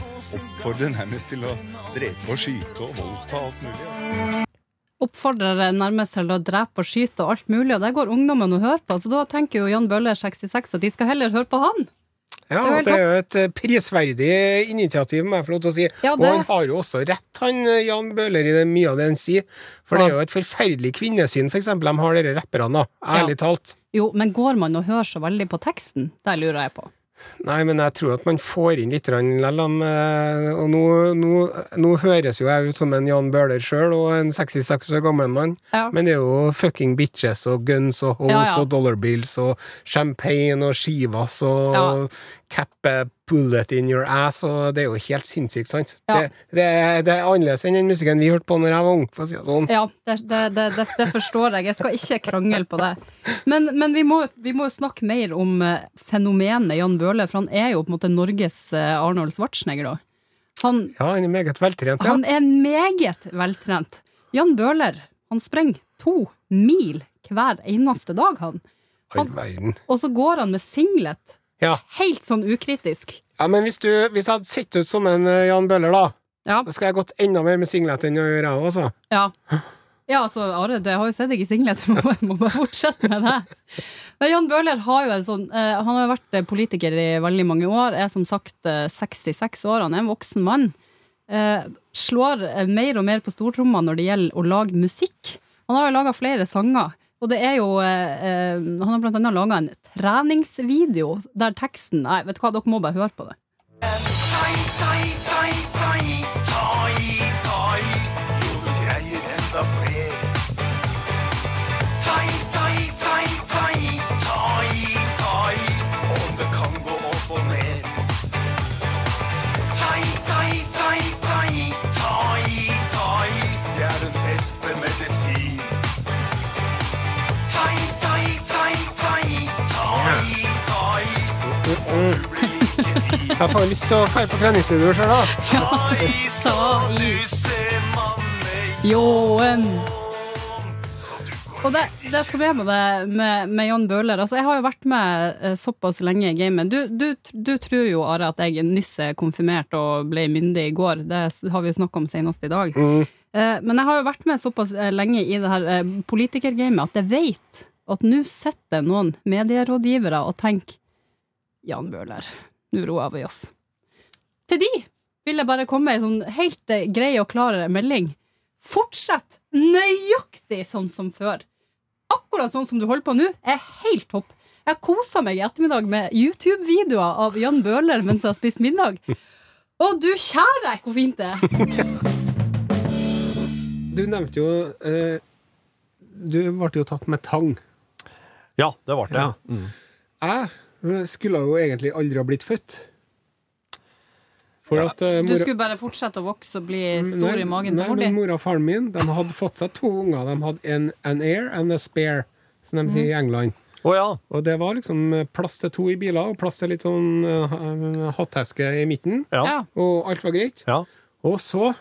S7: Oppfordrer nærmest til å drepe og skyte og voldta alt mulig.
S4: Oppfordrer nærmest til å drepe og skyte og alt mulig, og det går ungdommen og hører på. Så da tenker jo Jan Bøhler, 66, at de skal heller høre på han.
S2: Ja,
S4: Det er vel
S2: og det er jo et eh, prisverdig initiativ, må jeg få lov til å si.
S4: Ja,
S2: Og
S4: det-
S2: han har jo også rett, han eh, Jan Bøhler, i det mye av det han sier. For det
S4: Ja.
S2: er jo et forferdelig kvinnesyn, for eksempel. De har dere rapperne, da. Ærlig talt.
S4: Jo, men går man og hører så veldig på teksten? Det lurer jeg på.
S2: Nei, men jeg tror at man får inn litt likevel. Og nå, nå, nå høres jo jeg ut som en Jan Bøhler sjøl, og en 66 år gammel mann.
S4: Ja.
S2: Men det er jo fucking bitches og guns og hoes
S4: Ja, ja.
S2: og dollarbills og champagne og skivas og
S4: Ja.
S2: cappe bullet in your ass, og det er jo helt sinnssykt, sant?
S4: Ja.
S2: Det, det, er- det er annerledes enn den musikken vi hørte på når jeg var ung, for å si det sånn.
S4: Ja, det, det, det, det, det forstår jeg. Jeg skal ikke krangle på det. Men, men vi, må, vi må snakke mer om eh, fenomenet Jan Bøhler, for han er jo på en måte Norges eh, Arnold Schwarzenegger, da. Han,
S2: Ja, han er meget veltrent, ja.
S4: han er meget veltrent. Jan Bøhler, han sprenger to mil hver eneste dag, han.
S2: All verden.
S4: Og så går han med singlet.
S2: Ja.
S4: Helt sånn ukritisk.
S2: ja, men hvis du hvis jeg hadde sett ut som en eh, Jan Bøhler, da,
S4: Ja.
S2: da skal jeg gått enda mer med singlet enn å gjøre, jeg også.
S4: ja. Ja, altså, Are, det har jo sett deg i singlet, <laughs> må, bare- må bare fortsette med det. Men Jan Bøhler har jo en sånn eh, Han har jo vært eh, politiker i veldig mange år, er som sagt eh, 66 år, han er en voksen mann. Eh, slår eh, mer og mer på stortromma når det gjelder å lage musikk. Han har jo laga flere sanger. Og det er jo eh, eh, Han har blant annet laga en treningsvideo der teksten Nei, vet du hva, dere må bare høre på det.
S1: Medisin. Tai, tai, tai, tai, tai, tai.
S2: Jeg får lyst til å dra på treningsstudioet sjøl, da.
S4: Sa i Ljåen. Og det, det er problemet med, med, med Jan Bøhler. Altså, jeg har jo vært med eh, såpass lenge i gamet. Du, du, du tror jo, Are, at jeg nyss er konfirmert og ble myndig i går. Det s- har vi jo snakket om senest i dag. Eh, Men jeg har jo vært med såpass eh, lenge i det her eh, politikergamet at jeg vet at nå sitter noen medierådgivere og tenker Jan Bøhler, nå roer vi oss. Til de vil jeg bare komme med en sånn helt eh, grei og klar melding. Fortsett nøyaktig sånn som før. Akkurat sånn som du holder på nå, er helt topp. Jeg kosa meg i ettermiddag med YouTube-videoer av Jan Bøhler mens jeg har spist middag. Å, du kjære, hvor fint det er!
S2: Du nevnte jo eh, Du ble jo tatt med tang.
S3: Ja, det ble det.
S2: Ja. Jeg skulle jo egentlig aldri ha blitt født. For at eh,
S4: Du skulle bare fortsette å vokse og bli stor i magen
S2: nei, men
S4: til Mordi.
S2: mora og faren min De hadde fått seg to unger. De hadde en an air and a spare, som de sier i
S4: Mm.
S2: England.
S3: Å ja.
S2: Og det var liksom plass til to i biler, og plass til litt sånn eh, hatteske i midten.
S3: Ja.
S4: Ja.
S2: Og alt var greit.
S3: ja.
S2: Og så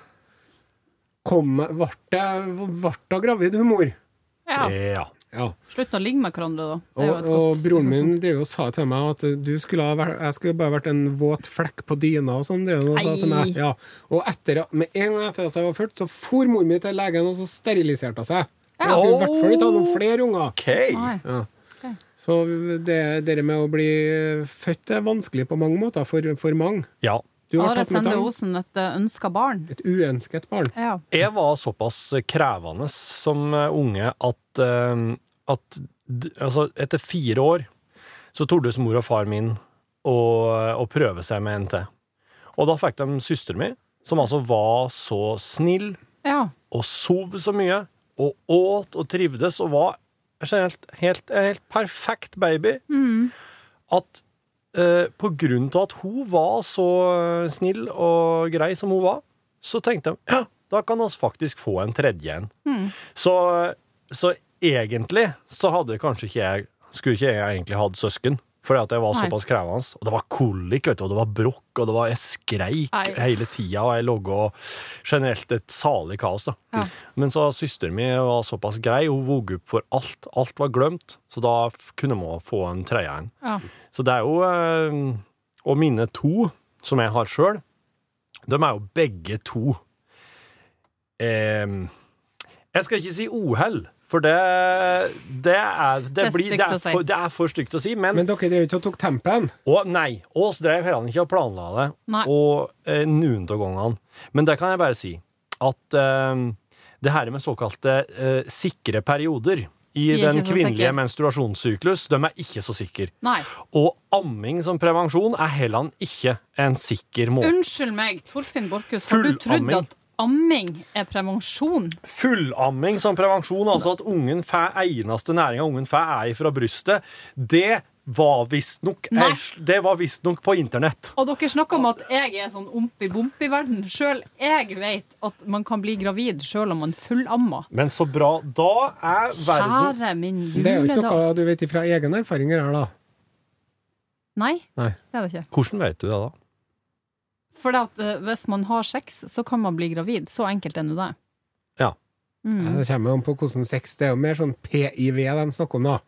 S2: kom Ble hun gravid, hun mor?
S4: Ja.
S3: ja.
S2: Ja.
S4: Slutt å ligge med hverandre, da. Det er
S2: Eh.
S4: jo
S2: Og,
S4: et
S2: og
S4: godt
S2: broren min
S4: utgangspunkt.
S2: drev og sa til meg at du skulle ha vært, jeg skulle bare vært en våt flekk på dyna. Og sånn drev han og sa til
S4: Ei.
S2: meg. Ja. Og etter, at- med en gang etter at jeg var født, så for mor mi til legen og så steriliserte hun seg. Jeg skulle i hvert fall ikke ha noen flere unger.
S3: OK.
S4: Nei.
S2: Så det, det med å bli født er vanskelig på mange måter for, for mange.
S3: Ja.
S2: Du har
S4: Are
S2: tatt med
S4: Sende
S2: tang.
S4: Osen, et ønska barn.
S2: Et uønsket barn.
S4: Ja.
S3: Jeg var såpass krevende som eh, unge at, eh, at d- altså, etter fire år så tordes mor og far min å, eh, å prøve seg med NT. Og da fikk de søsteren min, som altså var så snill
S4: ja.
S3: og sov så mye og åt og trivdes og var generelt helt, en helt perfekt baby. At eh, på grunn av at hun var så eh, snill og grei som hun var, så tenkte de ja, da kan vi faktisk få en tredje en. Så, så egentlig så hadde kanskje ikke jeg Skulle ikke jeg egentlig hatt søsken. Fordi at jeg var
S4: Nei.
S3: såpass krevende. Og det var kolikk, vet du, og det var bråk, og det var, jeg skreik
S4: Nei.
S3: hele tida, og jeg logga og generelt et salig kaos. da.
S4: Ja.
S3: Men så søsteren min var såpass grei, hun våg opp for alt. Alt var glemt, så da f- kunne man få en tredje en.
S4: Ja.
S3: Så det er jo eh, Og mine to, som jeg har sjøl, de er jo begge to eh, Jeg skal ikke si uhell, for det, det, er, det,
S4: er
S3: blir,
S4: stygt
S3: det, er
S4: å si.
S3: for, det er for stygt å si, men
S2: Men dere drev ikke og tok tempen?
S3: og nei, oss drev heller ikke og planla det.
S4: Nei.
S3: Og eh, noen av gangene. Men det kan jeg bare si at eh, det her med såkalte eh, sikre perioder i
S4: De er
S3: den
S4: ikke så
S3: kvinnelige
S4: sikre.
S3: menstruasjonssyklus, de er ikke så sikre.
S4: Nei.
S3: Og amming som prevensjon er heller ikke en sikker måte.
S4: Unnskyld meg, Torfinn Borchhus, har
S3: Full
S4: du trodd
S3: amming.
S4: at amming er prevensjon?
S3: Fullamming som prevensjon, altså at ungen får eneste næringa ungen får, er fra brystet, det var visstnok
S4: Nei.
S3: Det var visstnok på internett.
S4: Og dere snakker om at jeg er sånn ompi-bompi-verden. Sjøl jeg vet at man kan bli gravid sjøl om man fullammer.
S3: Men så bra. Da er verden
S4: Kjære min
S2: Det er jo ikke
S4: juledag.
S2: noe du vet ifra egen erfaringer her, da.
S4: Nei,
S2: Nei.
S4: det er det ikke.
S3: Hvordan vet du det, da?
S4: For at, eh, hvis man har sex, så kan man bli gravid. Så enkelt er nå det.
S3: Ja.
S4: Mm.
S2: Det kommer jo an på hvordan sex Det er jo mer sånn PIV de snakker om, da.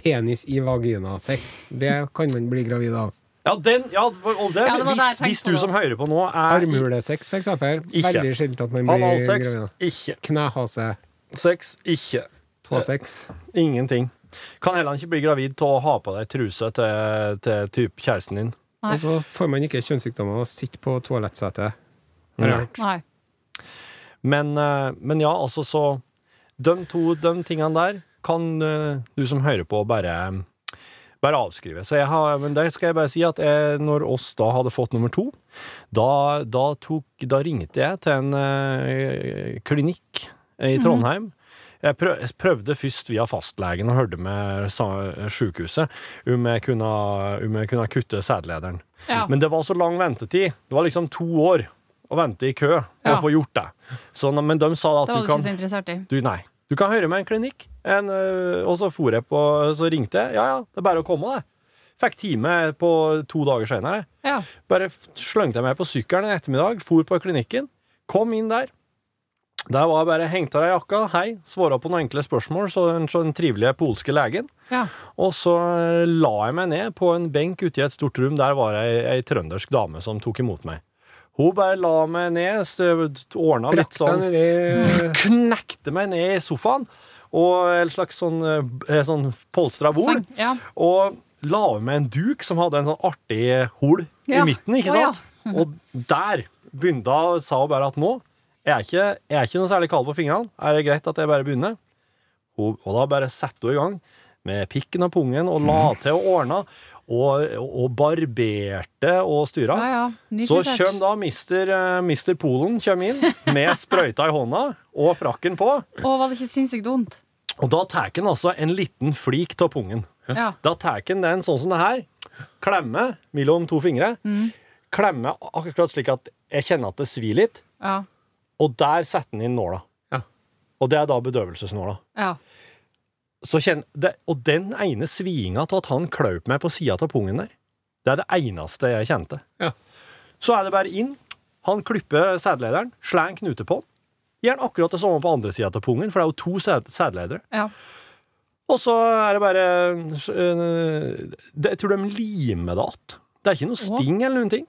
S2: Penis i vagina-sex. Det kan man bli gravid av.
S3: Ja, den, ja, og det,
S4: Ja, det var det jeg
S3: hvis,
S4: tenkte
S3: hvis
S4: på
S3: du
S4: da.
S3: som hører på nå, er
S2: Armhulesex, for eksempel.
S3: Ikke.
S2: Veldig sjelden at man blir
S3: analsex
S2: gravid. av.
S3: Ikke.
S2: Knehase.
S3: Sex ikke.
S2: Tå sex.
S3: Ingenting. Kan heller ikke bli gravid til å ha på deg truse til, til typ kjæresten din.
S4: Nei.
S2: Og så får man ikke kjønnssykdommer og sitter på toalettsetet.
S3: Nei.
S4: Nei.
S3: Men, eh, men ja, altså så De to de tingene der kan eh, du som hører på, bare, bare avskrive. Så jeg har, men det skal jeg bare si at jeg, når oss da hadde fått nummer to, da, da, tok, da ringte jeg til en eh, klinikk i
S4: Mhm.
S3: Trondheim. Jeg prøv- jeg prøvde først via fastlegen og hørte med sa- sykehuset om jeg kunne, om jeg kunne kutte sædlederen.
S4: Ja.
S3: Men det var så lang ventetid. Det var liksom to år å vente i kø for
S4: Ja.
S3: å få gjort det. Så, men de sa at
S4: Det var
S3: du
S4: du ikke så
S3: kan
S4: interessert i.
S3: du, Nei. Du kan høre med en klinikk. En, øh, og så for jeg på Så ringte jeg. Ja, ja, det er bare å komme, det. Fikk time på to dager senere.
S4: Ja.
S3: Bare f- slengte jeg meg på sykkelen en ettermiddag, for på klinikken, kom inn der. Der var jeg bare hengt av deg jakka, hei, svara på noen enkle spørsmål, så den, så den trivelige polske legen.
S4: Ja.
S3: Og så øh, la jeg meg ned på en benk ute i et stort rom. Der var ei, ei trøndersk dame som tok imot meg. Hun bare la meg ned, ordna
S2: Brakk
S3: litt
S2: deg
S3: sånn
S2: nedi
S3: Knekte meg ned i sofaen, og en slags sånn, eh, sånn polstra bord.
S4: Seng. Ja.
S3: Og la over med en duk som hadde en sånn artig hol
S4: Ja.
S3: i midten, ikke
S4: Å, ja.
S3: sant? og der begynte hun, sa hun bare at nå jeg er ikke, jeg er ikke noe særlig kald på fingrene. Er det greit at jeg bare begynner? Og, og da bare satte hun i gang med pikken og pungen og la til og ordna. Og, og barberte og styra.
S4: Ja, ja.
S3: Så
S4: Nydelig
S3: kjøm
S4: sett.
S3: da mister, eh, mister Polen kjøm inn med sprøyta i hånda og frakken på.
S4: Å, var det ikke sinnssykt vondt?
S3: Og da tar han altså en liten flik av pungen.
S4: Ja.
S3: Da tar han den sånn som det her. Klemme mellom to fingre. Klemme akkurat slik at jeg kjenner at det svir litt.
S4: Ja.
S3: Og der setter han inn nåla.
S2: Ja.
S3: Og det er da bedøvelsesnåla.
S4: ja.
S3: Så kjenn, det, og den ene svinga til at han klaup meg på sida av pungen der, det er det eneste jeg kjente.
S2: Ja.
S3: Så er det bare inn. Han klipper sædlederen, slår en knute på den. Gjør han akkurat det samme på andre sida av pungen, for det er jo to sæd- sædledere.
S4: ja.
S3: Og så er det bare øh, det, Jeg tror de limer det att. Det er ikke noe sting eller noen ting.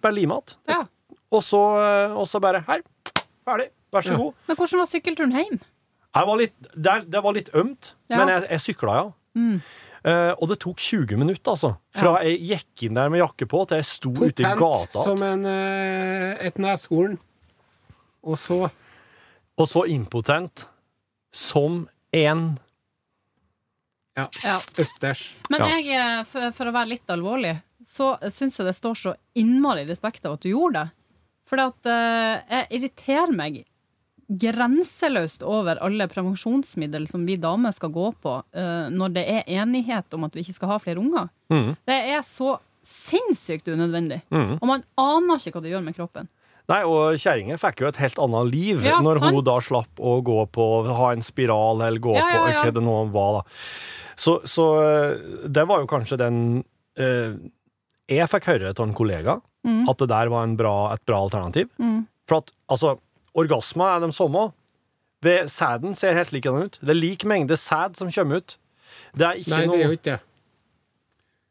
S3: Bare lime att.
S4: ja.
S3: Og så, øh, og så bare Her. Ferdig. Vær så god.
S4: Men hvordan var sykkelturen hjem?
S3: Jeg var litt, det, det var litt ømt,
S4: Ja.
S3: men jeg, jeg sykla, ja. Eh, og det tok 20 minutter, altså. Fra jeg gikk inn der med jakke på, til jeg sto <laughs> ute i
S2: potent
S3: gata.
S2: som en, eh, et neshorn. Og så
S3: Og så impotent som en
S2: ja,
S4: Ja.
S2: østers.
S4: Men
S3: Ja.
S4: jeg, eh, for, for å være litt alvorlig, så syns jeg det står så innmari respekt av at du gjorde det. For at eh, jeg irriterer meg grenseløst over alle prevensjonsmiddel som vi damer skal gå på eh, når det er enighet om at vi ikke skal ha flere unger.
S2: Mhm.
S4: Det er så sinnssykt unødvendig. Og man aner ikke hva det gjør med kroppen.
S3: Nei, og kjerringa fikk jo et helt annet liv
S4: Ja,
S3: når hun
S4: sant.
S3: da slapp å gå på ha en spiral eller gå
S4: Ja, ja, ja.
S3: på hva det nå var, da. Så, så eh, det var jo kanskje den eh, Jeg fikk høre av en kollega
S4: Mm.
S3: at det der var en bra, et bra alternativ. For at altså, orgasmer er de samme. Ved Sæden ser helt likedan ut. Det er lik mengde sæd som kommer ut. Det er ikke
S2: Nei, det
S3: noe
S2: er jo ikke det.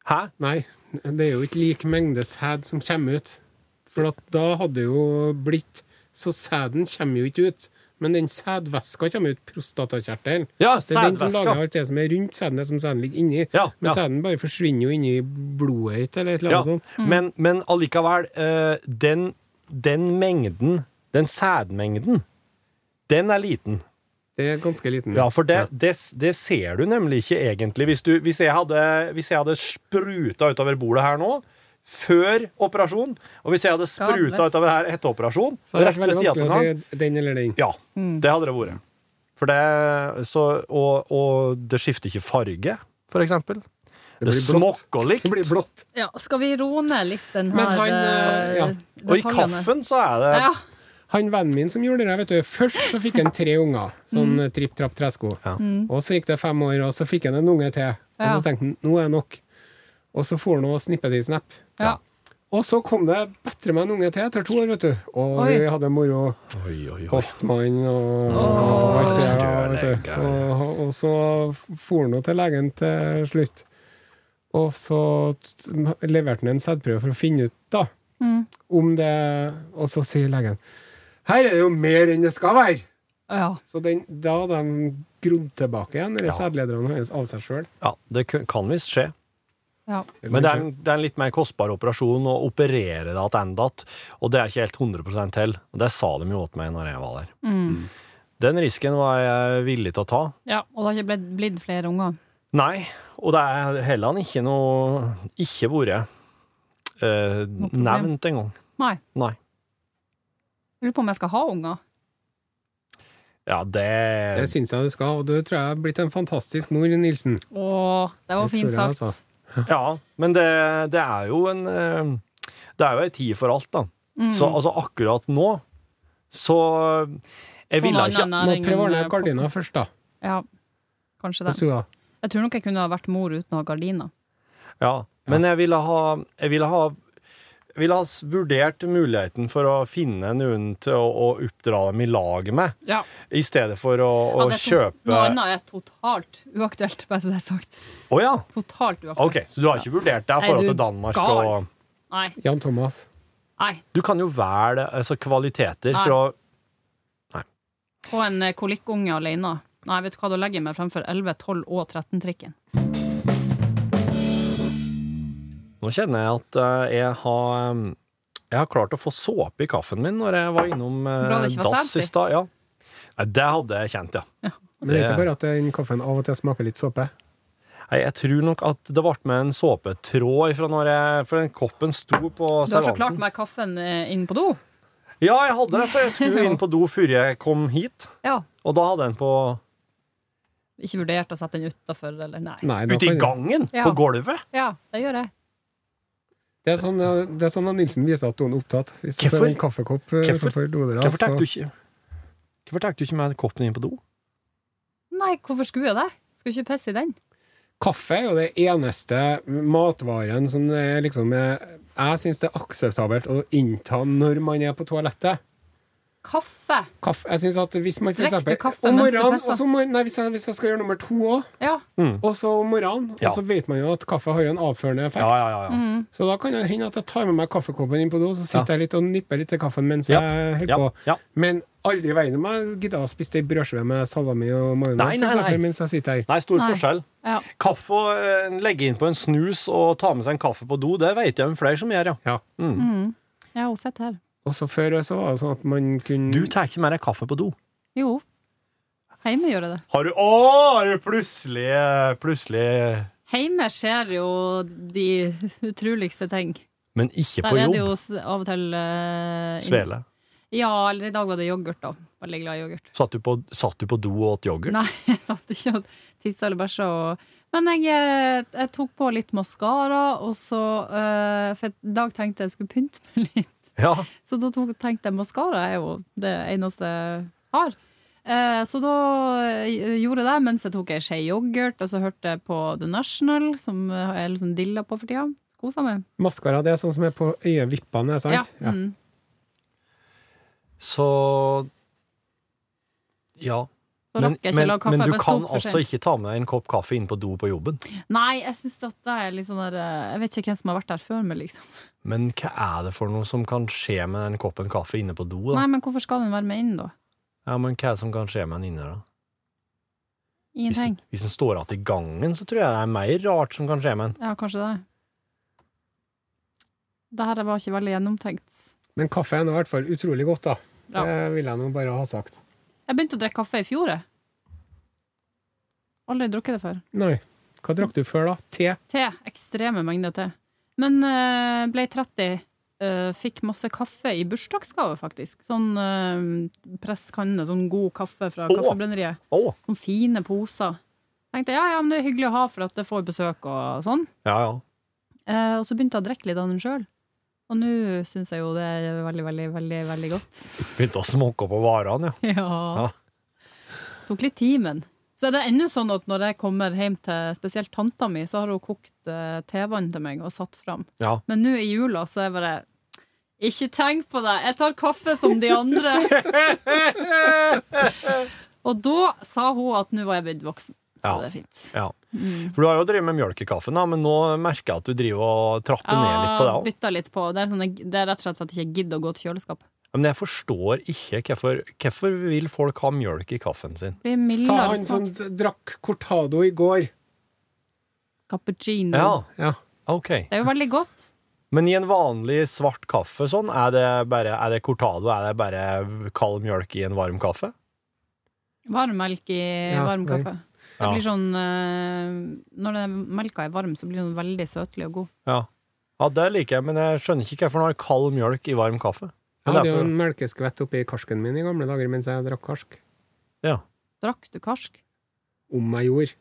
S3: Hæ?
S2: Nei, det er jo ikke lik mengde sæd som kommer ut. For at da hadde det jo blitt Så sæden kommer jo ikke ut. Men den sædvæska kommer ut, prostatakjertelen.
S3: Ja,
S2: Det er den som
S3: sædvæska.
S2: lager alt det som er rundt sæden, det som sæden ligger inni.
S3: Ja,
S2: Men
S3: ja.
S2: sæden bare forsvinner jo inni blodet ditt, eller et eller
S3: Ja,
S2: annet sånt.
S3: men, men allikevel, eh, den, den mengden, den sædmengden, den er liten.
S2: Det er ganske liten.
S3: Ja, for det, det, det ser du nemlig ikke egentlig. Hvis, du, hvis, jeg hadde, hvis jeg hadde spruta utover bordet her nå, før operasjon, og hvis jeg hadde spruta
S4: bless.
S3: utover her etter operasjon,
S2: Så det
S3: rett
S2: er
S3: ved
S2: veldig
S3: siden
S2: vanskelig å
S3: av
S2: si Mm. den eller den.
S3: ja, det hadde det vært. For det, så, og, og det skifter ikke farge, for eksempel. Det,
S2: blir blått.
S3: smokker likt.
S2: Det blir blått.
S4: Ja, skal vi roe ned litt den
S2: Men
S4: her
S2: han,
S4: eh,
S2: eh, ja.
S3: Og i
S4: detaljene?
S3: kaffen så er det
S4: Ja.
S2: Han vennen min som gjorde det, vet du, først så fikk han tre unger. Sånn
S4: Mm.
S2: tripp, trapp, tresko.
S3: Ja.
S2: Og så gikk det fem år, og så fikk han en unge til. Og så
S4: Ja.
S2: tenkte han nå er det nok. Og så får han noe snippet i snap.
S4: Ja.
S2: Og så kom det bedre med en unge til etter to år, vet du. Og
S4: Oi.
S2: vi hadde moro.
S3: Oi, oi, oi.
S2: Postmann og alt det der. vet du. Og, og så for han jo til legen til slutt. Og så t- leverte han en sædprøve for å finne ut da om det Og så sier legen Her er det jo mer enn det skal være!
S4: Ja.
S2: Så den, da hadde de grodd tilbake igjen, de
S3: Ja.
S2: sædlederne hans, av seg sjøl.
S3: Ja, det kun- kan visst skje.
S4: ja.
S3: Men det er, en, det er en litt mer kostbar operasjon å operere det tilbake, og det er ikke helt 100 til. Og Det sa de jo til meg når jeg var der.
S4: Mm.
S3: Den risken var jeg villig til å ta.
S4: ja. Og det har ikke blitt, blitt flere unger.
S3: Nei, og det er heller ikke noe Ikke vært eh,
S4: problem.
S3: nevnt engang.
S4: Nei.
S3: Nei.
S4: Jeg lurer på om jeg skal ha unger.
S3: Ja,
S2: Det
S3: det
S2: syns jeg du skal, og du tror jeg har blitt en fantastisk mor, Nilsen.
S4: Åh, det var
S2: Det
S4: fint
S2: tror jeg,
S4: sagt.
S2: altså.
S3: Ja, men det, det er jo en eh, Det er jo ei tid for alt, da.
S4: Mm.
S3: Så altså, akkurat nå så Jeg
S4: Få noe
S3: ville ikke
S4: annen
S2: Må
S4: næring
S2: prøve å
S4: enn,
S2: ordne
S4: eh,
S2: gardina først, da.
S4: pop- Ja, kanskje
S2: på
S4: det.
S2: stua.
S4: Jeg tror nok jeg kunne ha vært mor uten å ha gardiner.
S3: Ja, men jeg ville ha Jeg ville ha jeg ville ha s- vurdert muligheten for å finne noen til å, å oppdra dem i lag med,
S4: Ja.
S3: i stedet for å, å
S4: det er to-
S3: kjøpe
S4: Noe
S3: Å
S4: annet er totalt uaktuelt, bare så det er sagt.
S3: ja!
S4: Totalt uaktuelt.
S3: Ok, så du har ikke vurdert deg i
S4: Nei,
S3: forhold
S4: du
S3: til Danmark
S4: gal.
S3: og
S4: Nei.
S2: Jan Thomas.
S4: Nei.
S3: Du kan jo velge altså, kvaliteter
S4: Nei.
S3: fra
S4: På en eh, kolikkunge alene. Nei, vet du hva, da legger jeg meg fremfor 11, 12 og 13-trikken.
S3: Nå kjenner jeg at eh, jeg har eh, Jeg har klart å få såpe i kaffen min når jeg var innom eh,
S4: Bra det ikke var
S3: dass i
S4: selfie.
S3: stad. Ja. Nei, det hadde jeg kjent, ja.
S2: Men det er
S3: Det-
S2: ikke bare at den kaffen av og til smaker litt såpe.
S3: Nei, jeg tror nok at det ble med en såpetråd fra når jeg For den koppen sto
S4: Du
S3: på
S4: har så klart
S3: servanten.
S4: med kaffen eh, inn på do.
S3: Ja, jeg hadde det, for jeg skulle inn på do før jeg kom hit.
S4: Ja.
S3: Og da hadde jeg den på
S4: Ikke vurdert å sette den utafor, eller nei.
S2: Nei, da
S3: Ute i
S2: kan-
S3: gangen!
S4: Ja.
S3: På gulvet!
S4: Ja, det gjør jeg.
S2: Det er sånn, ja, det er sånn at Nilsen viser at hun er opptatt. Hvis det
S3: Hvorfor?
S2: står en kaffekopp eh,
S3: Hvorfor?
S2: utenfor dodøra,
S3: Hvorfor tok
S2: så
S3: du ikke Hvorfor tok du ikke med koppen inn på do?
S4: Nei, hvorfor skulle jeg det? Skulle ikke pisse i den.
S2: Kaffe er jo det eneste matvaren som det er liksom er Jeg syns det er akseptabelt å innta når man er på toalettet.
S4: Kaffe!
S2: Kaffe, jeg synes at Hvis man for
S4: Drekk du
S2: eksempel
S4: kaffe
S2: om
S4: mens du
S2: morgenen,
S4: presser?
S2: og så må- nei, hvis, jeg, hvis jeg skal gjøre nummer to òg,
S4: Ja.
S2: og så om morgenen
S3: Mm. Ja.
S2: Og så vet man jo at kaffe har jo en avførende effekt.
S3: Ja, ja, ja. ja.
S4: Mm.
S2: Så da kan det hende at jeg tar med meg kaffekoppen inn på do, så sitter
S3: Ja.
S2: jeg litt og nipper litt til kaffen mens
S3: Ja.
S2: jeg holder
S3: Ja.
S2: på.
S3: Ja.
S2: Men aldri i veien om jeg gidder å spise ei brødskive med salami og
S3: Nei,
S2: majones
S3: nei,
S2: for eksempel,
S3: nei.
S2: mens jeg sitter her.
S3: Nei, stor
S4: Nei.
S3: forskjell.
S4: ja.
S3: Kaffe og eh, legge inn på en snus og ta med seg en kaffe på do, det vet jeg om flere som gjør, ja.
S2: Ja.
S4: Ja, hun sitter her.
S2: Og så før så var det sånn at man kunne
S3: Du tar ikke med deg kaffe på do.
S4: Jo. Heime gjør jeg det.
S3: Har du Å, har du plutselig eh, Plutselig
S4: Heime skjer jo de utroligste ting.
S3: Men ikke
S4: Der
S3: på
S4: er
S3: jobb.
S4: det jo s- av og til eh, inn-
S3: Svele.
S4: Ja, eller i dag var det yoghurt, da. Veldig glad i yoghurt.
S3: Satt du, på, satt du på do og åt yoghurt?
S4: Nei, <laughs> jeg satt ikke og tissa eller bæsja. Og... Men jeg, eh, jeg tok på litt maskara, og så eh, For i dag tenkte jeg skulle pynte meg litt.
S3: Ja.
S4: Så da tok, tenkte jeg maskara er jo det eneste jeg har. Eh, så da eh, gjorde jeg det mens jeg tok ei skje yoghurt, og så hørte jeg på The National, som eh, jeg liksom dilla på for tida. Kosa meg.
S2: Maskara, det er sånn som er på øyevippene, er sant?
S4: Ja. Mm.
S3: Så Ja.
S4: Så rakk jeg ikke å lage kaffe.
S3: men
S4: jeg
S3: du
S4: bare sto
S3: kan
S4: opp for
S3: altså
S4: sent.
S3: ikke ta med deg en kopp kaffe inn på do på jobben.
S4: Nei, jeg synes at det er litt sånn der eh, Jeg vet ikke hvem som har vært der før meg, liksom.
S3: Men hva er det for noe som kan skje med den koppen kaffe inne på do? da?
S4: Nei, men hvorfor skal den være med inn, da?
S3: Ja, men Hva er det som kan skje med den inne, da? Hvis den,
S4: Ingenting.
S3: hvis den står igjen i gangen, så tror jeg det er mer rart som kan skje med den.
S4: Ja, kanskje det. Det her var ikke veldig gjennomtenkt.
S2: Men kaffe er nå i hvert fall utrolig godt, da.
S4: Ja.
S2: Det vil jeg nå bare ha sagt.
S4: Jeg begynte å drikke kaffe i fjor, jeg. Aldri drukket det før.
S2: Nei. Hva drakk du før, da? Te?
S4: Te. Ekstreme mengder te. Men eh, ble 30. eh, fikk masse kaffe i bursdagsgave, faktisk. Sånn eh, presskanne, sånn god kaffe fra
S3: Åh!
S4: Kaffebrenneriet.
S3: Å!
S4: Sånn fine poser. Tenkte ja, ja, men det er hyggelig å ha, for at jeg får besøk og sånn.
S3: Ja, ja.
S4: Eh, og så begynte jeg å drikke litt av den sjøl. Og nå syns jeg jo det er veldig, veldig, veldig veldig godt. <laughs>
S3: Begynte å smokke på varene, ja.
S4: Ja.
S3: Ja.
S4: Tok litt tid, men. Så er det ennå sånn at når jeg kommer hjem til spesielt tanta mi, så har hun kokt eh, tevann til meg og satt fram.
S3: Ja.
S4: Men nå i jula så er jeg bare Ikke tenk på det! Jeg tar kaffe som de andre! og da sa hun at nå var jeg blitt voksen. Så
S3: Ja.
S4: det er fint.
S3: ja.
S4: Mm.
S3: For du har jo drevet med mjølk i kaffen, da, men nå merker jeg at du driver og trapper ned litt på det òg.
S4: Ah, bytta litt på. Det er, sånn, jeg- det er rett og slett for at jeg ikke gidder å gå til kjøleskapet.
S3: Men jeg forstår ikke hvorfor, hvorfor vil folk ha mjølk i kaffen sin.
S4: Blir
S2: Sa
S4: mildere
S2: han sånn- som
S4: smak.
S2: d- drakk cortado i går.
S4: Cappuccino.
S3: Ja,
S2: Ja.
S3: ok.
S4: Det er jo veldig godt.
S3: Men i en vanlig svart kaffe sånn, er det bare er det cortado? Er det bare kald mjølk i en varm kaffe?
S4: Varm melk i
S2: Ja,
S4: varm
S2: varm.
S4: kaffe. Det
S3: Ja.
S4: blir sånn eh, Når den melka er varm, så blir den veldig søtlig og god.
S3: Ja. ja, det liker jeg, men jeg skjønner ikke hvorfor han har kald mjølk i varm
S2: Jeg
S3: kaffe. Men
S2: hadde jo
S3: derfor-
S2: en melkeskvett oppi karsken min i gamle dager mens jeg drakk karsk.
S3: ja.
S4: Drakk du karsk?
S2: Om jeg gjorde.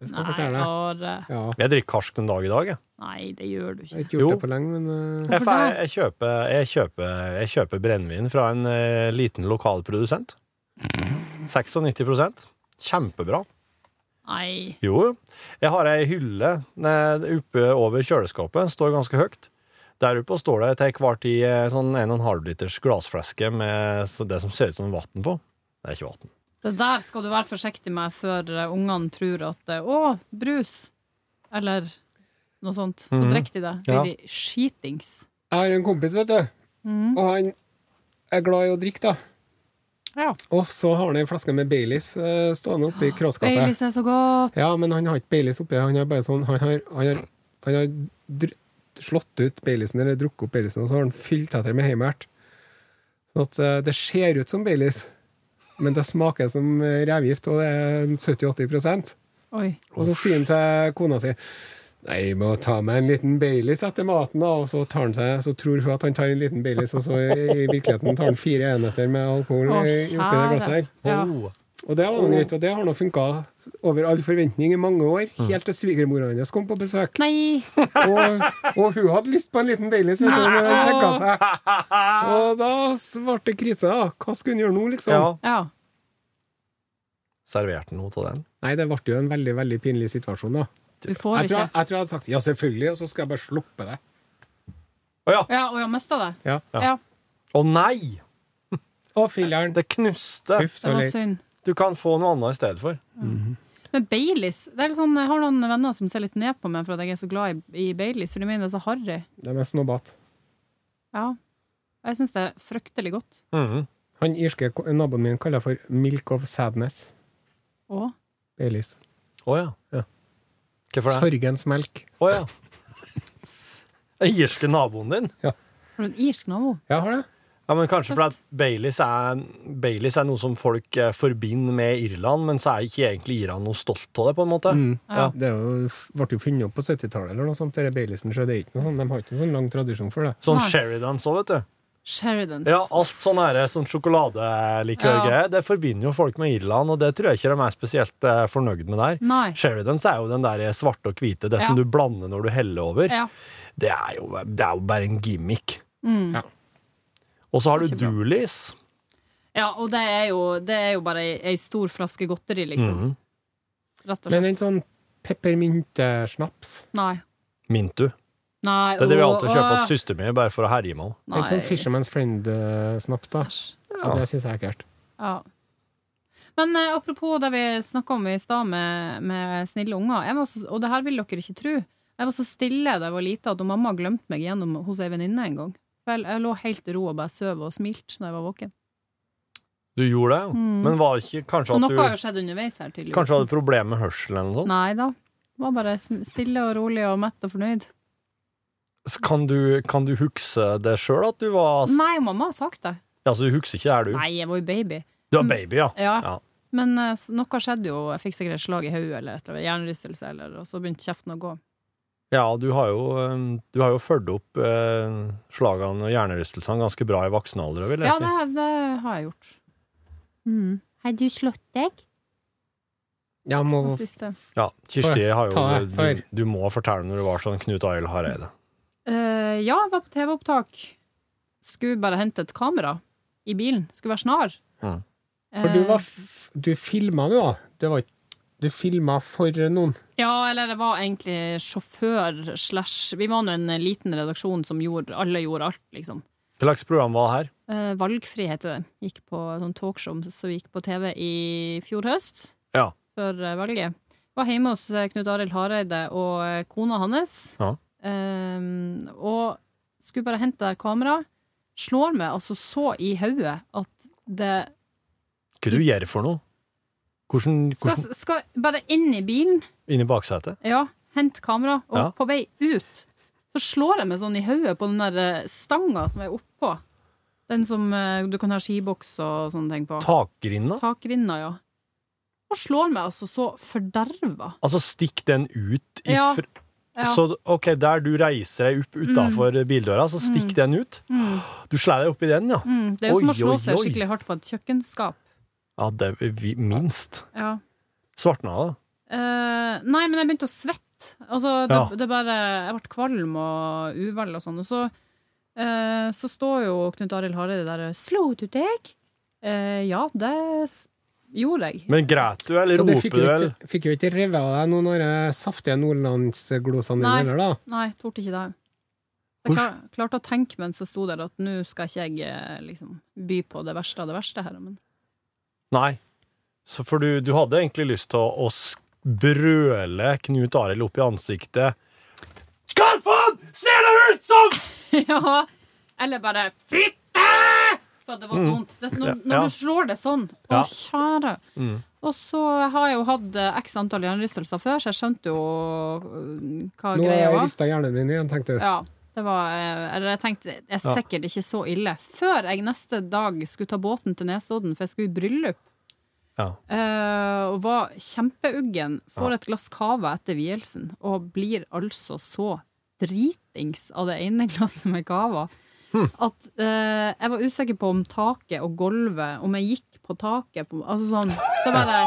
S2: Det skal jeg
S4: Nei,
S2: fortelle deg.
S4: Are.
S2: Ja,
S3: Jeg drikker karsk den dag i dag, jeg.
S4: Nei, det gjør du
S2: jeg har
S4: ikke.
S2: ikke gjort
S3: Jo.
S2: det på lenge, men eh,
S3: Jeg,
S4: Hvorfor
S3: fer- jeg, kjøper, jeg, kjøper, jeg kjøper brennevin fra en eh, liten lokal produsent. 96 Kjempebra.
S4: Nei.
S3: Jo, jeg har ei hylle eh, oppe over kjøleskapet. Den står ganske høyt. Der oppe står det til hver tid eh, sånn 1,5 liters glassflaske med s- det som ser ut som vann på. Det er ikke vann.
S4: Det der skal du være forsiktig med før eh, ungene tror at eh, Å, brus! Eller noe sånt. Så
S3: Mhm.
S4: drikker de det.
S3: Ja.
S4: Blir de skitings.
S2: jeg har en kompis, vet du.
S4: Mhm.
S2: Og han er glad i å drikke, da.
S4: Ja.
S2: Og så har han ei flaske med Baileys eh, stående
S4: <gasps>
S2: oppi kråskapet.
S4: Baileys er så godt.
S2: Ja, men han har ikke Baileys oppi. Han har bare sånn Han har, han har, han har dr slått ut Baileysen, eller drukket opp Baileysen, og så har han fylt etter med heimert. Sånn at eh, det ser ut som Baileys, men det smaker som eh, revgift, og det er en 70-80
S4: Oi.
S2: Og så sier han til kona si Nei, jeg må ta meg en liten Baileys etter maten, da. Og så, tar han seg, så tror hun at han tar en liten Baileys, og så i i virkeligheten tar han fire enheter med alkohol
S4: Å,
S2: i- oppi det glasset her.
S4: Ja.
S3: Oh.
S2: Og det var noe greit, og det har nå funka over all forventning i mange år, helt til svigermora hennes kom på besøk.
S4: Nei!
S2: Og, og hun hadde lyst på en liten Baileys vet du, når han sjekka seg. Og da s- ble det krise, da. Hva skulle hun gjøre nå, liksom?
S3: Ja.
S4: Ja.
S3: Serverte noe av den.
S2: Nei, det ble jo en veldig, veldig pinlig situasjon, da.
S4: Du
S2: Jeg
S4: får
S2: tror jeg,
S4: ikke.
S2: jeg tror jeg hadde sagt ja, selvfølgelig, og så skal jeg bare sluppe det.
S3: Å ja!
S4: Ja, og jeg mista det.
S2: Ja.
S3: Ja.
S4: Ja,
S3: Å nei!
S2: Å, filler'n.
S3: Det knuste.
S2: Huff,
S4: det
S2: så
S4: var
S2: leit.
S4: synd.
S3: Du kan få noe annet i stedet for.
S4: Men Baileys det er litt sånn, Jeg har noen venner som ser litt ned på meg for at jeg er så glad i, i Baileys, for de mener det er så harry.
S2: De er snobbete.
S4: Ja. Jeg syns det er fryktelig godt.
S3: Mhm.
S2: Han irske ko- naboen min kaller for 'milk of sadness'.
S4: Å,
S2: Baileys.
S3: Å ja.
S2: Ja.
S3: Hvorfor det?
S2: Sorgens melk.
S3: Å ja. <laughs> Den irske naboen din?
S4: har du en irsk nabo?
S2: Ja, har det.
S3: Ja, men Kanskje fordi at Baileys er, Baileys er noe som folk eh, forbinder med Irland, men så er ikke egentlig Irland noe stolt av det, på en måte.
S2: Mm.
S3: Ja.
S2: Det er jo, f- ble jo funnet opp på 70-tallet eller noe sånt. Det er Baileysen sjø, det er ikke noe sånt. De har ikke noen sånn lang tradisjon for det.
S3: Sånn
S4: Nei.
S3: Sheridans òg, vet du.
S4: Sheridans.
S3: Ja, Alt sånn her, sånn sjokoladelikørgreier, det forbinder jo folk med Irland, og det tror jeg ikke de er spesielt eh, fornøyd med der.
S4: Nei.
S3: Sheridans er jo den der eh, svarte og hvite, det
S4: Ja.
S3: som du blander når du heller over.
S4: Ja.
S3: Det, er jo, det er jo bare en gimmick.
S4: Mm.
S2: Ja.
S3: Og så har
S4: Ikke
S3: du
S4: bra.
S3: Doolies.
S4: ja, og det er jo, det er jo bare ei, ei stor flaske godteri, liksom.
S3: Mhm.
S4: Rett og
S2: Men
S4: slett.
S2: en sånn peppermyntesnaps,
S4: Nei.
S3: Mintu.
S4: Nei.
S3: Det er det vi
S4: å,
S3: alltid kjøper
S4: å,
S3: til søsteren min, bare for å herje med henne.
S4: Nei.
S2: en sånn Fisherman's Friend-snaps, da.
S4: Æsj.
S2: Ja, det syns jeg er ekkelt.
S4: Ja. Men eh, apropos det vi snakka om i stad med, med snille unger, jeg var så, og det her vil dere ikke tro. Jeg var så stille da jeg var lita at mamma glemte meg gjennom hos ei venninne en gang. For jeg, jeg lå helt i ro og bare søv og smilte når jeg var våken.
S3: Du gjorde det, jo.
S4: Mm.
S3: men var ikke kanskje
S4: Så
S3: at
S4: noe
S3: du
S4: har jo skjedd underveis her, tydeligvis.
S3: Kanskje du hadde problemer med hørselen eller noe sånt?
S4: Nei da. Var bare sn- stille og rolig og mett og fornøyd.
S3: Så Kan du, kan du huske det sjøl at du var s-
S4: Nei, mamma har sagt det.
S3: Altså, du husker ikke det, er du?
S4: Nei, Mm. jeg var jo baby.
S3: Du er baby, ja.
S4: Ja.
S3: Ja.
S4: Men eh, s- noe skjedde jo. Jeg fikk sikkert et slag i hodet eller et eller annet. Hjernerystelse, eller, og så begynte kjeften å gå.
S3: Ja, du har jo, um, du har jo fulgt opp eh, slagene og hjernerystelsene ganske bra i voksen alder, vil jeg
S4: Ja, det, det har jeg gjort. Mm. Har du slått deg?
S2: Jeg må
S4: Den siste.
S3: si. Ja, Kirsti
S2: Får-
S3: har jo
S2: ta det,
S3: du, du må fortelle når du var sånn Knut Arild Hareide.
S4: Eh, ja, jeg var på TV-opptak. Skulle bare hente et kamera i bilen. Skulle være snar. Eh,
S3: Mm.
S2: For du var f Du filma, du, da. Du, var ikke- du filma for noen.
S4: Ja, eller jeg var egentlig sjåfør slash Vi var nå en eh, liten redaksjon som gjorde Alle gjorde alt, liksom.
S3: Hva slags program var det her?
S4: Eh, valgfri heter det. Gikk på sånn talkshow som gikk på TV i fjor høst.
S3: Ja.
S4: Før eh, valget. Var hjemme hos eh, Knut Arild Hareide og eh, kona hans.
S3: Ja.
S4: Ehm, og skulle bare hente der kamera. slår meg altså så i hodet at det
S3: Hva du gjør for noe? Hvordan,
S4: skal,
S3: hvordan
S4: skal bare inn i bilen,
S3: Inn i baksetet?
S4: ja, hente kamera, og
S3: Ja.
S4: på vei ut så slår jeg meg sånn i hodet på den der eh, stanga som er oppå. Den som eh, du kan ha skiboks og sånne ting på.
S3: Takgrinda?
S4: Takrinna, ja. Og slår meg altså så forderva.
S3: Altså, stikk den ut
S4: Ja,
S3: ifra
S4: ja.
S3: Så ok, der du reiser deg opp utafor bildøra, så stikk den ut. Du slår deg oppi den, ja.
S4: Mm, det er jo som
S3: Oi,
S4: å slå
S3: oi,
S4: seg
S3: oi.
S4: skikkelig hardt på et kjøkkenskap.
S3: Ja, det er vi, minst.
S4: Ja.
S3: Svartna, da.
S4: Eh, nei, men jeg begynte å svette. Altså, det,
S3: Ja.
S4: det bare, jeg ble kvalm og uvel og sånn. Og så, eh, så står jo Knut Arild Hareide der og 'Slo du deg?' Eh, ja, det s- gjorde jeg.
S3: Men græt du, eller
S2: Så du
S3: roper
S2: fikk
S3: du,
S2: jo
S3: eller?
S2: ikke, fikk jo ikke revet av deg noen av de saftige nordlandsglosene
S4: Nei.
S2: dine heller, da?
S4: Nei, torde ikke det. Jeg klar, klarte å tenke mens jeg sto der at nå skal ikke jeg eh, liksom, by på det verste av det verste her. Men
S3: Nei. Så for du, du hadde egentlig lyst til å, å sk- brøle Knut Arild opp i ansiktet. Skarpan! Ser det ut som!
S4: <laughs> ja, eller bare 'fitte!' For at det var så vondt. Det, når,
S3: Mm. Ja, ja.
S4: når du slår det sånn, å
S3: Ja. Mm.
S4: kjære. Og så har jeg jo hatt eh, x antall hjernerystelser før, så jeg skjønte jo eh, hva
S2: Nå har
S4: greia
S2: jeg
S4: var.
S2: rista hjernen min igjen, tenkte du.
S4: Ja, det var eh, Eller jeg tenkte det er
S3: Ja.
S4: sikkert ikke så ille. Før jeg neste dag skulle ta båten til Nesodden, for jeg skulle i bryllup,
S3: Ja.
S4: eh, og var kjempeuggen, får et glass cava etter vielsen, og blir altså så dritings av det ene <laughs> glasset med cava at eh, jeg var usikker på om taket og gulvet Om jeg gikk på taket på, Altså sånn Det var det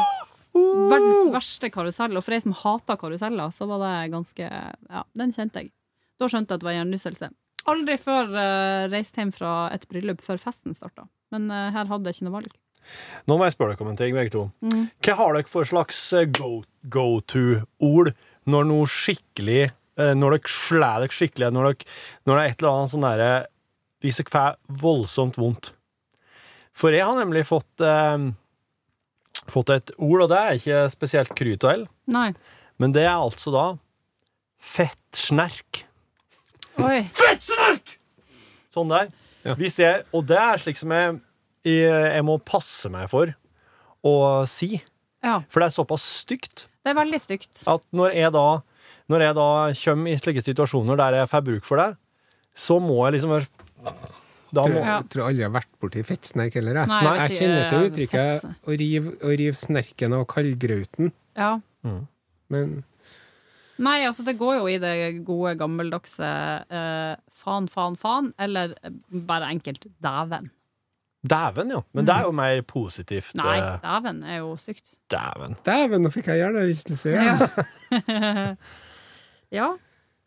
S4: verdens verste karusell Og for jeg som hater karuseller Så var det ganske Ja, den kjente jeg Da skjønte jeg at det var hjernerystelse Aldri før eh, reist hjem fra et bryllup Før festen startet Men eh, her hadde jeg ikke noe valg
S3: Nå må jeg spørre dere om en ting, begge to. Hva har dere for slags eh, go- go-to-ord når noe skikkelig eh, Når dere slår dere skikkelig, når, dere, når det er et eller annet sånn derre Hvis dere får voldsomt vondt. For jeg har nemlig fått eh, Fått et ord, og det er ikke spesielt kryt og hell,
S4: Nei
S3: men det er altså da fettsnerk.
S4: Oi
S3: Sånn der. Hvis jeg, og det er slik som jeg, jeg, jeg må passe meg for å si,
S4: Ja,
S3: for det er såpass stygt.
S4: det er veldig stygt
S3: at når jeg da Når jeg da kommer i slike situasjoner der jeg får bruk for det, så må jeg liksom være Da
S2: Tror,
S3: må
S4: Ja.
S2: jeg tror aldri jeg har vært borti fettsnerk heller, jeg.
S4: Nei,
S2: Nei, jeg
S4: jeg
S2: kjenner til
S4: sier-
S2: uttrykket
S4: fett.
S2: 'å rive, å rive snerken av kaldgrauten',
S4: Ja
S2: men
S4: Nei, altså det går jo i det gode, gammeldagse eh, faen, faen, faen, eller eh, bare enkelt dæven.
S3: Dæven, ja. Men det er jo mer positivt.
S4: Nei,
S3: eh,
S4: dæven er jo stygt.
S3: Dæven.
S2: Dæven, nå fikk jeg hjernerystelse igjen!
S4: Ja,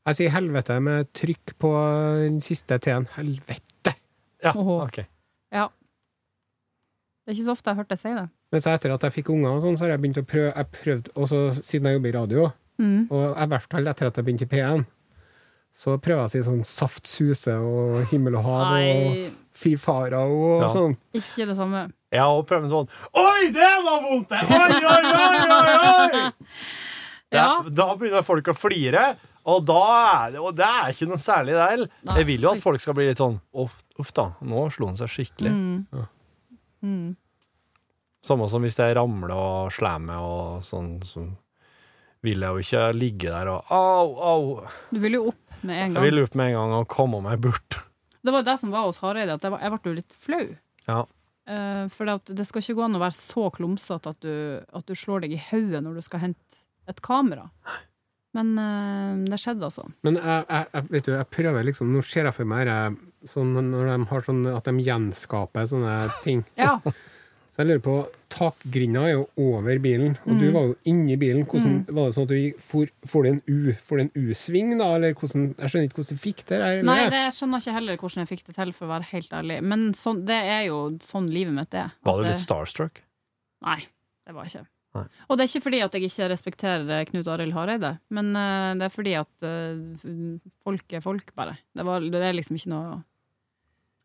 S2: Jeg sier helvete med trykk på den siste T-en. Helvete!
S3: Ja,
S4: Åhå.
S3: ok.
S4: ja. Det er ikke så ofte jeg har hørt deg si det.
S2: Men så etter at jeg fikk unger, og sånn, så har jeg begynt å prøve Jeg prøvde, og så siden jeg jobber i radio,
S4: Mm.
S2: og i hvert fall etter at jeg begynte i P1, så prøver jeg å si sånn saft suse og himmel og hav og
S4: Nei,
S2: fy fara og
S3: Ja.
S2: sånn.
S4: ikke det samme.
S3: Jeg har også prøvd en sånn Oi, det var vondt! det! Oi, oi, oi, oi!
S4: <laughs>
S3: oi! Det,
S4: Ja.
S3: Da begynner folk å flire, og, da er det, og det er ikke noe særlig der.
S4: Nei.
S3: Jeg vil jo at folk skal bli litt sånn Uff, uff da, nå slo han seg skikkelig.
S4: Mm.
S3: Ja. Samme som hvis jeg ramler og slår meg og sånn, så vil jeg jo ikke ligge der og au, au.
S4: Du vil jo opp med en
S3: Jeg
S4: gang.
S3: vil opp med en gang og komme meg bort.
S4: Det var jo det som var hos Hareide, at jeg var- jeg ble jo litt flau. Eh,
S3: Ja.
S4: for det, at det skal ikke gå an å være så klumsete at, du- at du slår deg i hodet når du skal hente et kamera. Men eh, det skjedde, altså.
S2: Men jeg, jeg, jeg, vet du, jeg prøver liksom Nå ser jeg for meg eh, sånn, når de har sånn at de gjenskaper sånne ting.
S4: Ja.
S2: Så jeg lurer på Takgrinda er jo over bilen, og
S4: Mm.
S2: du var jo inni bilen. Hvordan, Var det sånn at du gikk- for, for det en U, for det en U-sving, da? Eller hvordan, jeg skjønner ikke hvordan du fikk det. Eller?
S4: Nei, det skjønner jeg ikke heller hvordan jeg fikk det til, for å være helt ærlig. Men sånn, det er jo sånn livet mitt er.
S3: Var du
S4: At
S3: litt
S4: det-
S3: starstruck?
S4: Nei, det var jeg ikke.
S3: Nei.
S4: Og det er ikke fordi at jeg ikke respekterer eh, Knut Arild Hareide, men eh, det er fordi at eh, folk er folk, bare. Det, var, det er liksom ikke noe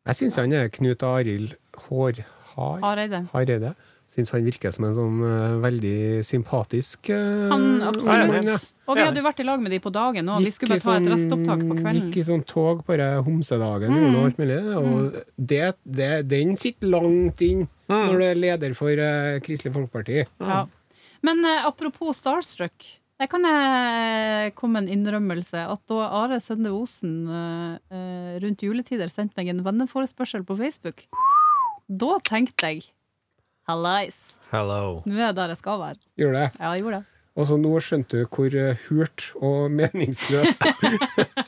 S2: Jeg syns han er Knut Arild Hår Har-
S4: Hareide.
S2: Hareide. Syns han virker som en sånn eh, veldig sympatisk eh,
S4: Han,
S2: mann, ja.
S4: absolutt. Og vi
S3: Enig.
S4: hadde jo vært i lag med de på dagen òg. Vi
S2: Gikk
S4: skulle
S2: i
S4: bare ta et
S2: sånn-
S4: restopptak på kvelden. Mm.
S2: Gikk i sånn tog på det homsedagen gjorde noe alt mulig. Og det, det, den sitter langt inn når du er leder for eh, Kristelig Folkeparti.
S4: Ja. Men eh, apropos Starstruck. Der kan jeg eh, komme med en innrømmelse. At da Are Sønde Osen eh, eh, rundt juletider sendte meg en venneforespørsel på Facebook, da tenkte jeg Hallais!
S3: Hello.
S4: Nå er jeg der jeg skal være.
S2: Gjorde det.
S4: Ja, jeg gjorde det.
S2: Og så nå skjønte du hvor eh, hult og
S4: <laughs>
S2: meningsløst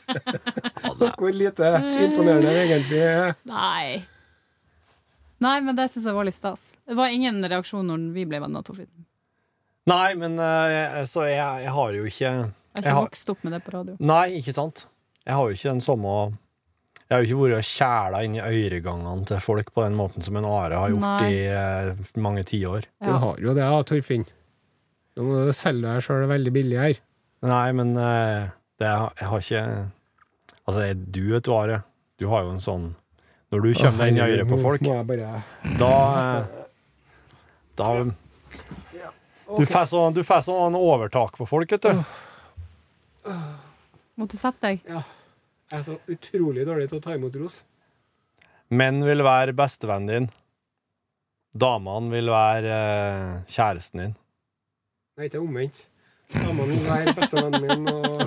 S2: <laughs> Og hvor lite imponerende det egentlig er.
S4: Nei. Nei, men det syns jeg var litt stas. Det var ingen reaksjon når vi ble venner, Torfinn.
S3: Nei, men eh, jeg- så jeg, jeg har jo
S4: Jeg
S3: ikke
S4: har
S3: Jeg
S4: ikke
S3: har-
S4: vokst opp med det på radio.
S3: Nei, ikke sant? Jeg har jo ikke den samme Jeg har jo ikke vært og kjæla inn i øregangene til folk på den måten som en Are har gjort
S4: Nei.
S3: i eh, mange tiår.
S4: Ja.
S2: Du har jo det, da, Torfinn. Nå må du selge deg sjøl veldig billig her.
S3: Nei, men eh, det, jeg har ikke Altså, jeg, du vet du, Are. Du har jo en sånn Når du kommer deg inn i øret på folk,
S2: Nå må jeg bare
S3: da eh, Da Du får sånn, du får sånn overtak på folk, vet du.
S4: Måtte du sette deg?
S2: Jeg er så utrolig dårlig til å ta imot ros.
S3: Menn vil være bestevennen din. Damene vil være eh, kjæresten din.
S2: Nei, ikke omvendt. Damene vil være bestevennen min, og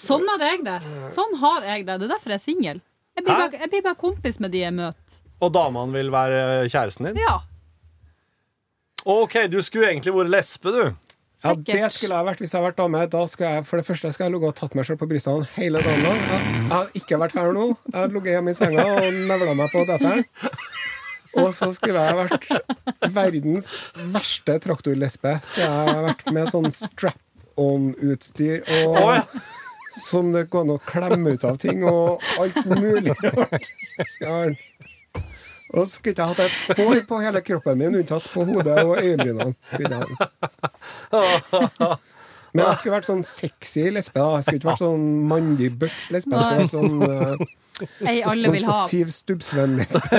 S4: Sånn har jeg det. Sånn har jeg det. Det er derfor jeg er singel. Jeg, blir
S3: Hæ?
S4: bare- jeg blir bare kompis med de jeg møter.
S3: Og damene vil være eh, kjæresten din?
S4: Ja,
S3: OK, du skulle egentlig vært lesbe, du.
S2: ja,
S4: <laughs> sikkert.
S2: Det skulle jeg vært hvis jeg hadde vært dame. Da skulle jeg, for det første skal jeg ligge og tatt meg selv på brystene hele dagen lang. Jeg, jeg har ikke vært her nå. Jeg hadde ligget hjemme i senga og nevla meg på datteren. Og så skulle jeg vært verdens verste traktorlesbe. Så jeg har vært med sånn strap-on-utstyr og
S3: Å,
S2: som det går an å klemme ut av ting, og alt mulig rart. Ja. Og så skulle ikke jeg hatt et hår på hele kroppen min, unntatt på hodet og øyebrynene. skulle jeg ha. Men jeg skulle vært sånn sexy lesbe. da Jeg skulle ikke vært sånn mandig butch lesbe. Jeg skulle vært sånn, eh,
S4: Ei alle vil
S2: sånn
S4: ha.
S2: Siv Stubbsvenn-lesbe.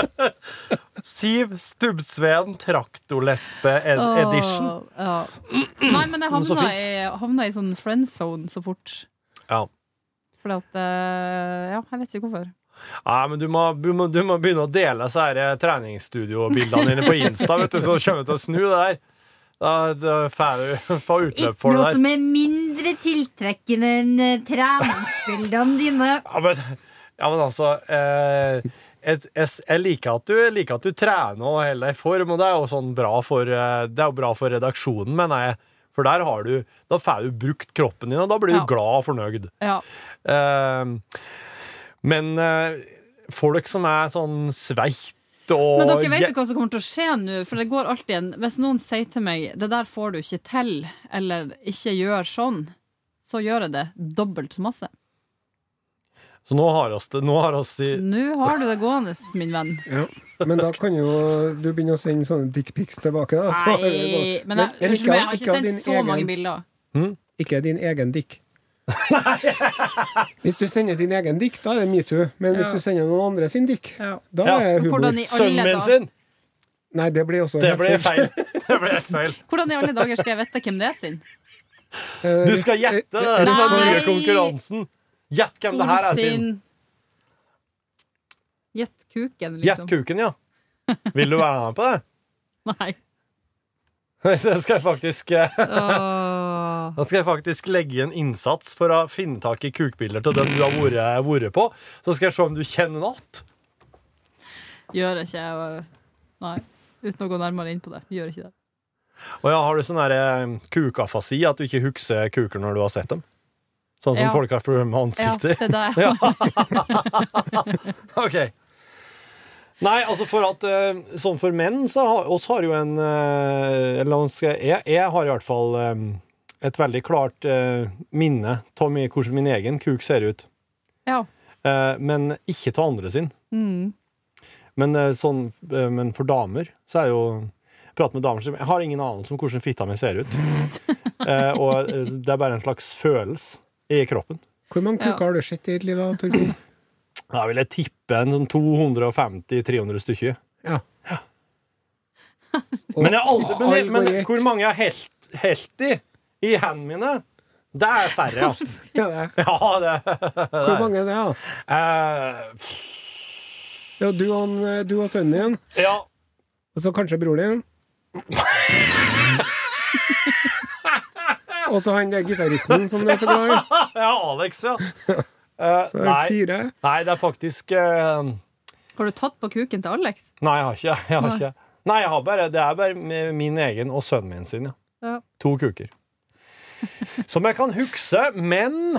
S3: <laughs> Siv Stubbsveen traktorlesbe ed
S4: Åh,
S3: edition.
S4: ja. Nei, men jeg
S3: Men så
S4: havna
S3: fint.
S4: i, havna i sånn friend zone så fort.
S3: Ja.
S4: Fordi at eh, Ja, jeg vet ikke hvorfor.
S3: Nei, men du må, du, må, du må begynne å dele disse her, eh, treningsstudiobildene dine på Insta, vet du, så kommer du til å snu det der. Da, da får du får utløp for det der.
S8: er mindre tiltrekkende enn eh, treningsbildene dine.
S3: Ja, men, ja, men altså eh, jeg, jeg, jeg, liker at du, jeg liker at du trener og holder deg i form, og det er jo sånn bra for, eh, det er jo bra for redaksjonen, mener jeg. For der har du, da får du brukt kroppen din, og da blir du
S4: Ja.
S3: glad og fornøyd.
S4: Ja.
S3: Eh, men eh, folk som er sånn sveit og
S4: Men dere vet jo hva som kommer til å skje nå. For det går alltid en Hvis noen sier til meg 'det der får du ikke til', eller 'ikke gjør sånn', så gjør jeg det dobbelt så masse.
S3: Så nå har oss det. Nå har oss i,
S4: Nå har du det gående,
S2: <laughs>
S4: min venn.
S2: Ja. Men da kan jo du begynne å sende sånne dickpics tilbake. Da. Så-
S4: Nei, men jeg,
S2: Men
S4: unnskyld meg, jeg
S2: av-
S4: har
S2: av
S4: ikke
S2: din
S4: sendt så
S2: egen-
S4: mange bilder.
S2: Ikke din egen
S3: <laughs>
S2: dick. Hvis du sender din egen dick, da er det metoo. Men hvis du sender noen andre sin dick, da
S3: Ja.
S2: er det humor.
S4: Hvordan i
S3: sønnen
S4: alle
S3: min
S4: dager
S3: sin!
S2: Nei, det blir også
S3: Det
S2: helt
S3: ble
S2: feil.
S3: feil. Det ble helt feil.
S4: Hvordan i alle dager skal jeg vite hvem det er sin?
S2: Eh,
S3: Du skal gjette det er som er den nye
S4: Nei.
S3: konkurransen. Gjett hvem det her er sin.
S4: Gjett kuken,
S3: Gjett
S4: liksom.
S3: kuken, ja. Vil du være med på det? <laughs>
S4: Nei.
S3: Det skal jeg faktisk, da
S4: Åh.
S3: skal jeg faktisk legge en innsats for å finne tak i kukbilder til den du har vært, vært på. Så skal jeg se om du kjenner noe.
S4: Gjør ikke jeg Nei. Uten å gå nærmere inn på det. Gjør
S3: <laughs>
S4: ikke det.
S3: Og ja, har du sånn der, eh, kukafasi, at du ikke husker kuker når du har sett dem? Sånn som
S4: Ja.
S3: folk har problemer med
S4: Ja,
S3: ansikter?
S4: det er det.
S3: Ja. <laughs> ok. Nei, altså for at eh, Sånn for menn, så har oss har jo en eh, Eller hva skal jeg Jeg, jeg har i hvert fall eh, et veldig klart eh, minne av mi- hvordan min egen kuk ser ut.
S4: Ja.
S3: Eh, men ikke av andre sin.
S4: Mm.
S3: Men, eh, sånn, eh, men for damer så er jo Prat med damer som Jeg har ingen anelse om hvordan fitta mi ser ut. Eh, og eh, det er bare en slags følelse i kroppen.
S2: Hvor mange
S4: Ja.
S2: kuker har du sett i ditt liv, da, Torfinn?
S3: Da vil jeg tippe en sånn 250-300 stykker.
S2: Ja.
S3: Men, jeg har aldri, men, jeg, men
S2: Algoritme.
S3: hvor mange jeg har helt, helt i i hendene mine, det er færre. Altså.
S2: Ja, det er.
S3: Ja, det
S2: Hvor mange er det, da?
S3: eh,
S2: Ja, du, og han- eh, du og sønnen din,
S3: Ja.
S2: og så kanskje broren
S3: <laughs>
S2: din. Og så han der gitaristen som du er så glad i.
S3: ja, Alex,
S2: <laughs>
S3: ja. Eh,
S2: Så er det
S3: nei,
S2: fire.
S3: nei, det er faktisk eh,
S4: Har du tatt på kuken til Alex?
S3: Nei, jeg har ikke. <laughs> Jeg har ikke. Nei, jeg har bare, det er bare min egen og sønnen min sin. Ja.
S4: Ja.
S3: To kuker. Som jeg kan huske, men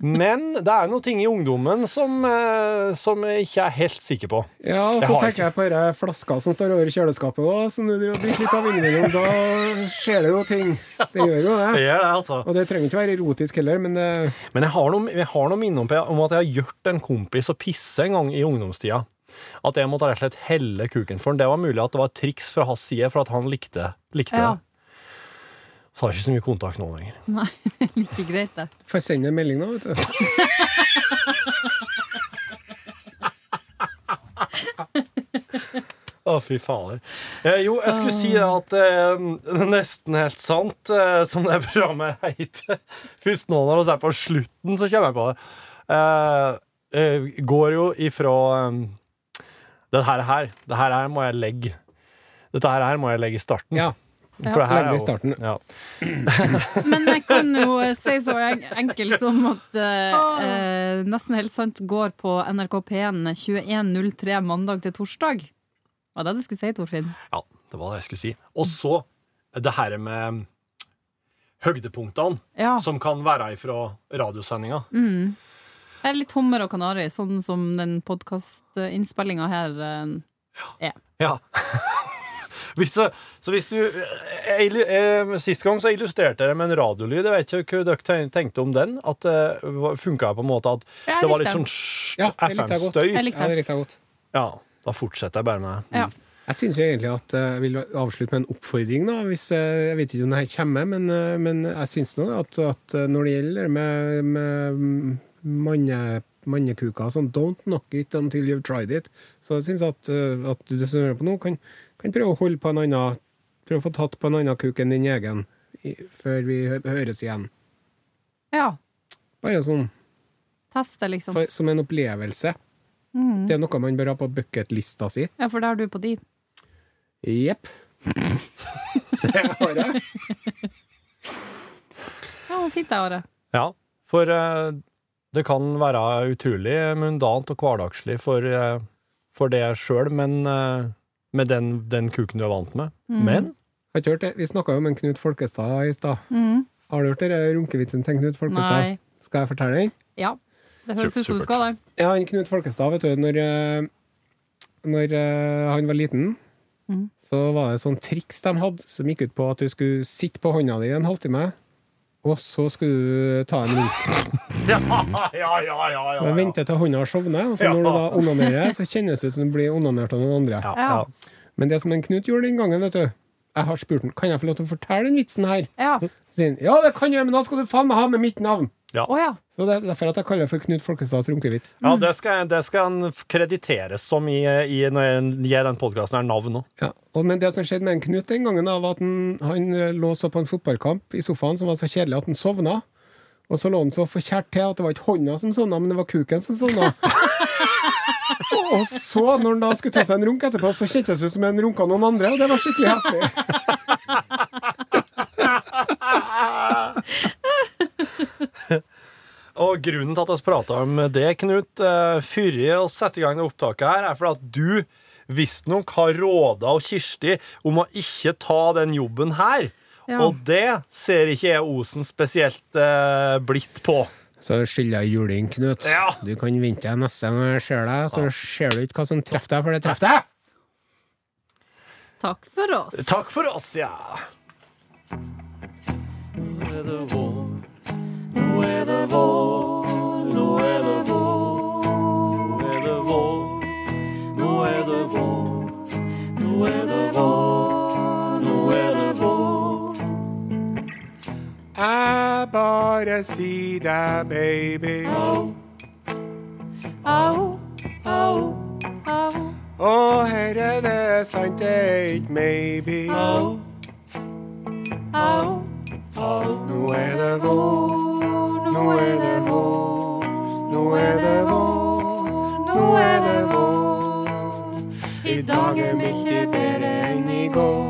S3: Men det er noe ting i ungdommen som, eh, som jeg ikke er helt sikker på.
S2: Ja, og
S3: Jeg
S2: så
S3: har
S2: tenker jeg på denne flaska som står over kjøleskapet òg, som du driver og drikker litt av innimellom. Da skjer det jo ting. Det gjør jo det.
S3: gjør det, altså.
S2: Og det trenger ikke være erotisk heller, men eh, det
S3: Men jeg har noe, jeg har noe minne om, om at jeg har gjort en kompis å pisse en gang i ungdomstida. At jeg måtte rett og slett helle kuken for han. Det var mulig at det var et triks fra hans side for at han likte, likte
S4: Ja.
S3: det. Så har jeg ikke så mye kontakt nå lenger.
S4: Nei, det er like greit, det.
S2: får jeg sende en melding nå, vet du.
S3: Å, fy fader. Eh, jo, jeg skulle si at eh, <laughs> det er nesten helt sant, eh, som det programmet heter Først nå når vi er på slutten, så kommer jeg på det. Eh, eh, går jo ifra eh, Det her her, det her her må jeg legge. Dette her her må jeg legge i starten.
S2: Ja.
S3: For det
S2: legger
S3: her er
S2: vi i
S3: jo-
S2: starten.
S3: Ja.
S4: Men jeg kan jo eh, si så en- enkelt som at eh, eh, Nesten helt sant går på NRK P1 21.03 mandag til torsdag. Hva var det du skulle si, Torfinn?
S3: ja, det var det jeg skulle si. Og så det her med høydepunktene,
S4: Ja.
S3: som kan være ifra radiosendinga.
S4: Jeg er litt hummer og kanari, sånn som den podkastinnspillinga her
S3: Mm.
S4: eh, er.
S3: Ja. <laughs> hvis, så, så hvis du jeg, illu- eh, Sist gang så illustrerte jeg det med en radiolyd. Jeg vet ikke hva dere ten- tenkte om den. At eh, det funka på en måte at
S4: Ja, jeg
S3: det var
S4: likte
S3: litt
S4: den.
S3: sånn sj-
S2: Ja, jeg likte det godt.
S3: FM-støy.
S4: Jeg
S2: Ja,
S4: likte
S2: det
S4: det.
S2: likte jeg godt.
S3: Ja, da fortsetter jeg bare med
S4: Ja.
S2: Jeg syns egentlig at eh, jeg vil avslutte med en oppfordring, da. Hvis, eh, jeg vet ikke om det her kommer, men, eh, men jeg syns nå at, at eh, når det gjelder med, med manne, mannekuker og sånn, don't knock it until you've tried it. Så jeg syns at, eh, at du som hører på nå, kan, kan prøve å holde på en annen Prøve å få tatt på en annen kuk enn din egen i, før vi hø høres igjen.
S4: ja.
S2: Bare sånn,
S4: Teste, liksom.
S2: for, som en opplevelse. Det er noe man bør ha på bucketlista si.
S4: Ja, for det har du på di.
S2: Jepp. Det har jeg.
S4: Ja, hvor fint det er, Are.
S3: Ja, for eh, det kan være utrolig mundant og hverdagslig for, eh, for det sjøl, men eh, med den, den kuken du er vant med.
S4: Mm.
S3: Men
S2: Har ikke hørt det? Vi snakka jo om en Knut Folkestad i stad. Har du hørt det? runkevitsen til Knut Folkestad?
S4: Nei.
S2: Skal jeg fortelle den?
S4: Ja. Det høres ut som du skal der.
S2: Ja, han Knut Folkestad, vet du, når, eh, når eh, han var liten, så var det et sånt triks de hadde, som gikk ut på at du skulle sitte på hånda di en halvtime, og så skulle du ta en runk.
S3: <laughs> Ja, ja, ja! ja,
S2: Men vente til hånda sovner, og så når du da onanerer, så kjennes det ut som du blir onanert av noen andre.
S4: Ja.
S2: Men det som en Knut gjorde den gangen, vet du Jeg har spurt han, kan jeg få lov til å fortelle den vitsen her?
S4: Ja.
S2: Så sier han, ja, det kan jeg, men da skal du faen meg ha med mitt navn.
S4: Å ja.
S2: Så det er derfor at jeg kaller det for Knut Folkestads runkevits.
S3: Ja, det skal, det skal han krediteres som i, i når jeg gir den podkasten her navn nå.
S2: Ja. Og, men det som skjedde med en Knut den gangen, da, var at han, han eh, lå så på en fotballkamp i sofaen som var så kjedelig at han sovna. Og så lå han så forkjært til at det var ikke hånda som sovna, men det var kuken som <laughs> sovna. og så, når han da skulle ta seg en runk etterpå, så kjentes det ut som han runka noen andre, og det var skikkelig heftig.
S3: Og grunnen til at vi prater om det, Knut, eh, før vi setter i gang det opptaket her, er fordi at du visstnok har råda og Kirsti om å ikke ta den jobben her.
S4: Ja.
S3: Og det ser ikke jeg Osen spesielt eh, blitt på.
S2: <laughs> Så skylder jeg juling, Knut.
S3: Ja.
S2: Du kan vente til neste gang jeg ser deg, så ser du ikke hva som treffer deg, for det treffer deg!
S4: Takk for oss.
S3: Takk for oss, ja.
S2: Jeg bare sier deg, baby.
S4: Au, au, au.
S2: Å, her er det sant, det er ikke maybe.
S4: Au, au.
S2: Nå er det vår, nå er det vår, nå er det vår, nå er det vår. I dag er mye bedre enn i går.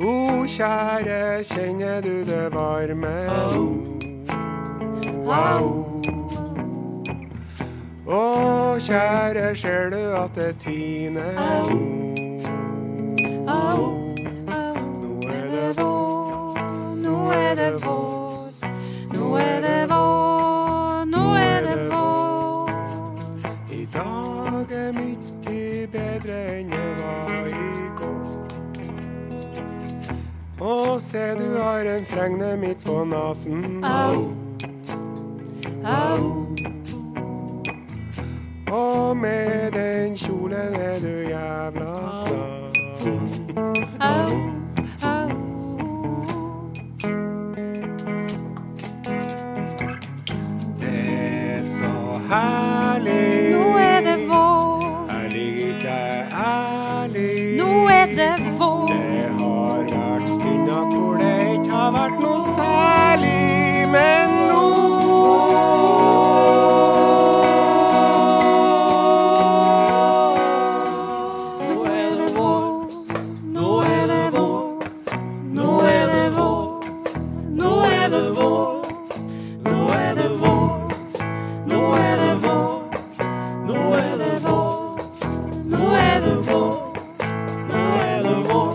S2: O kjære, kjenner du det varme? Wow. Å kjære, ser du at det tiner? Nå er det
S4: Nå er det vår, nå er det vår, nå er det vår.
S2: I dag er mye bedre enn det var i går. Å, se du har en fregne midt på nasen.
S4: Au, au,
S2: Og med den kjolen er du jævla stas.
S4: au, au.
S2: Det er så herlig.
S4: Nå er det vår,
S2: Jeg ligger ikke ærlig.
S4: nå er det vår.
S2: Det har vært stunder hvor det ikke har vært noe særlig, men nå
S4: Nå er det vår, nå er det vår, nå er det vår, nå er det vår, nå er det vår, nå er det vår, nå er det vår,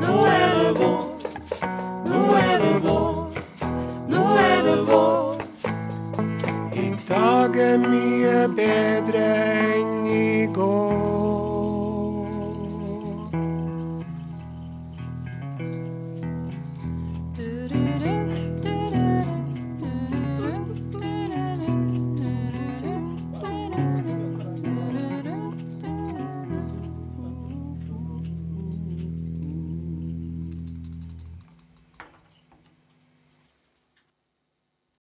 S4: nå er det vår, nå er det vår, nå er det vår, nå er det vår, nå er det vår.
S2: I dag er mye bedre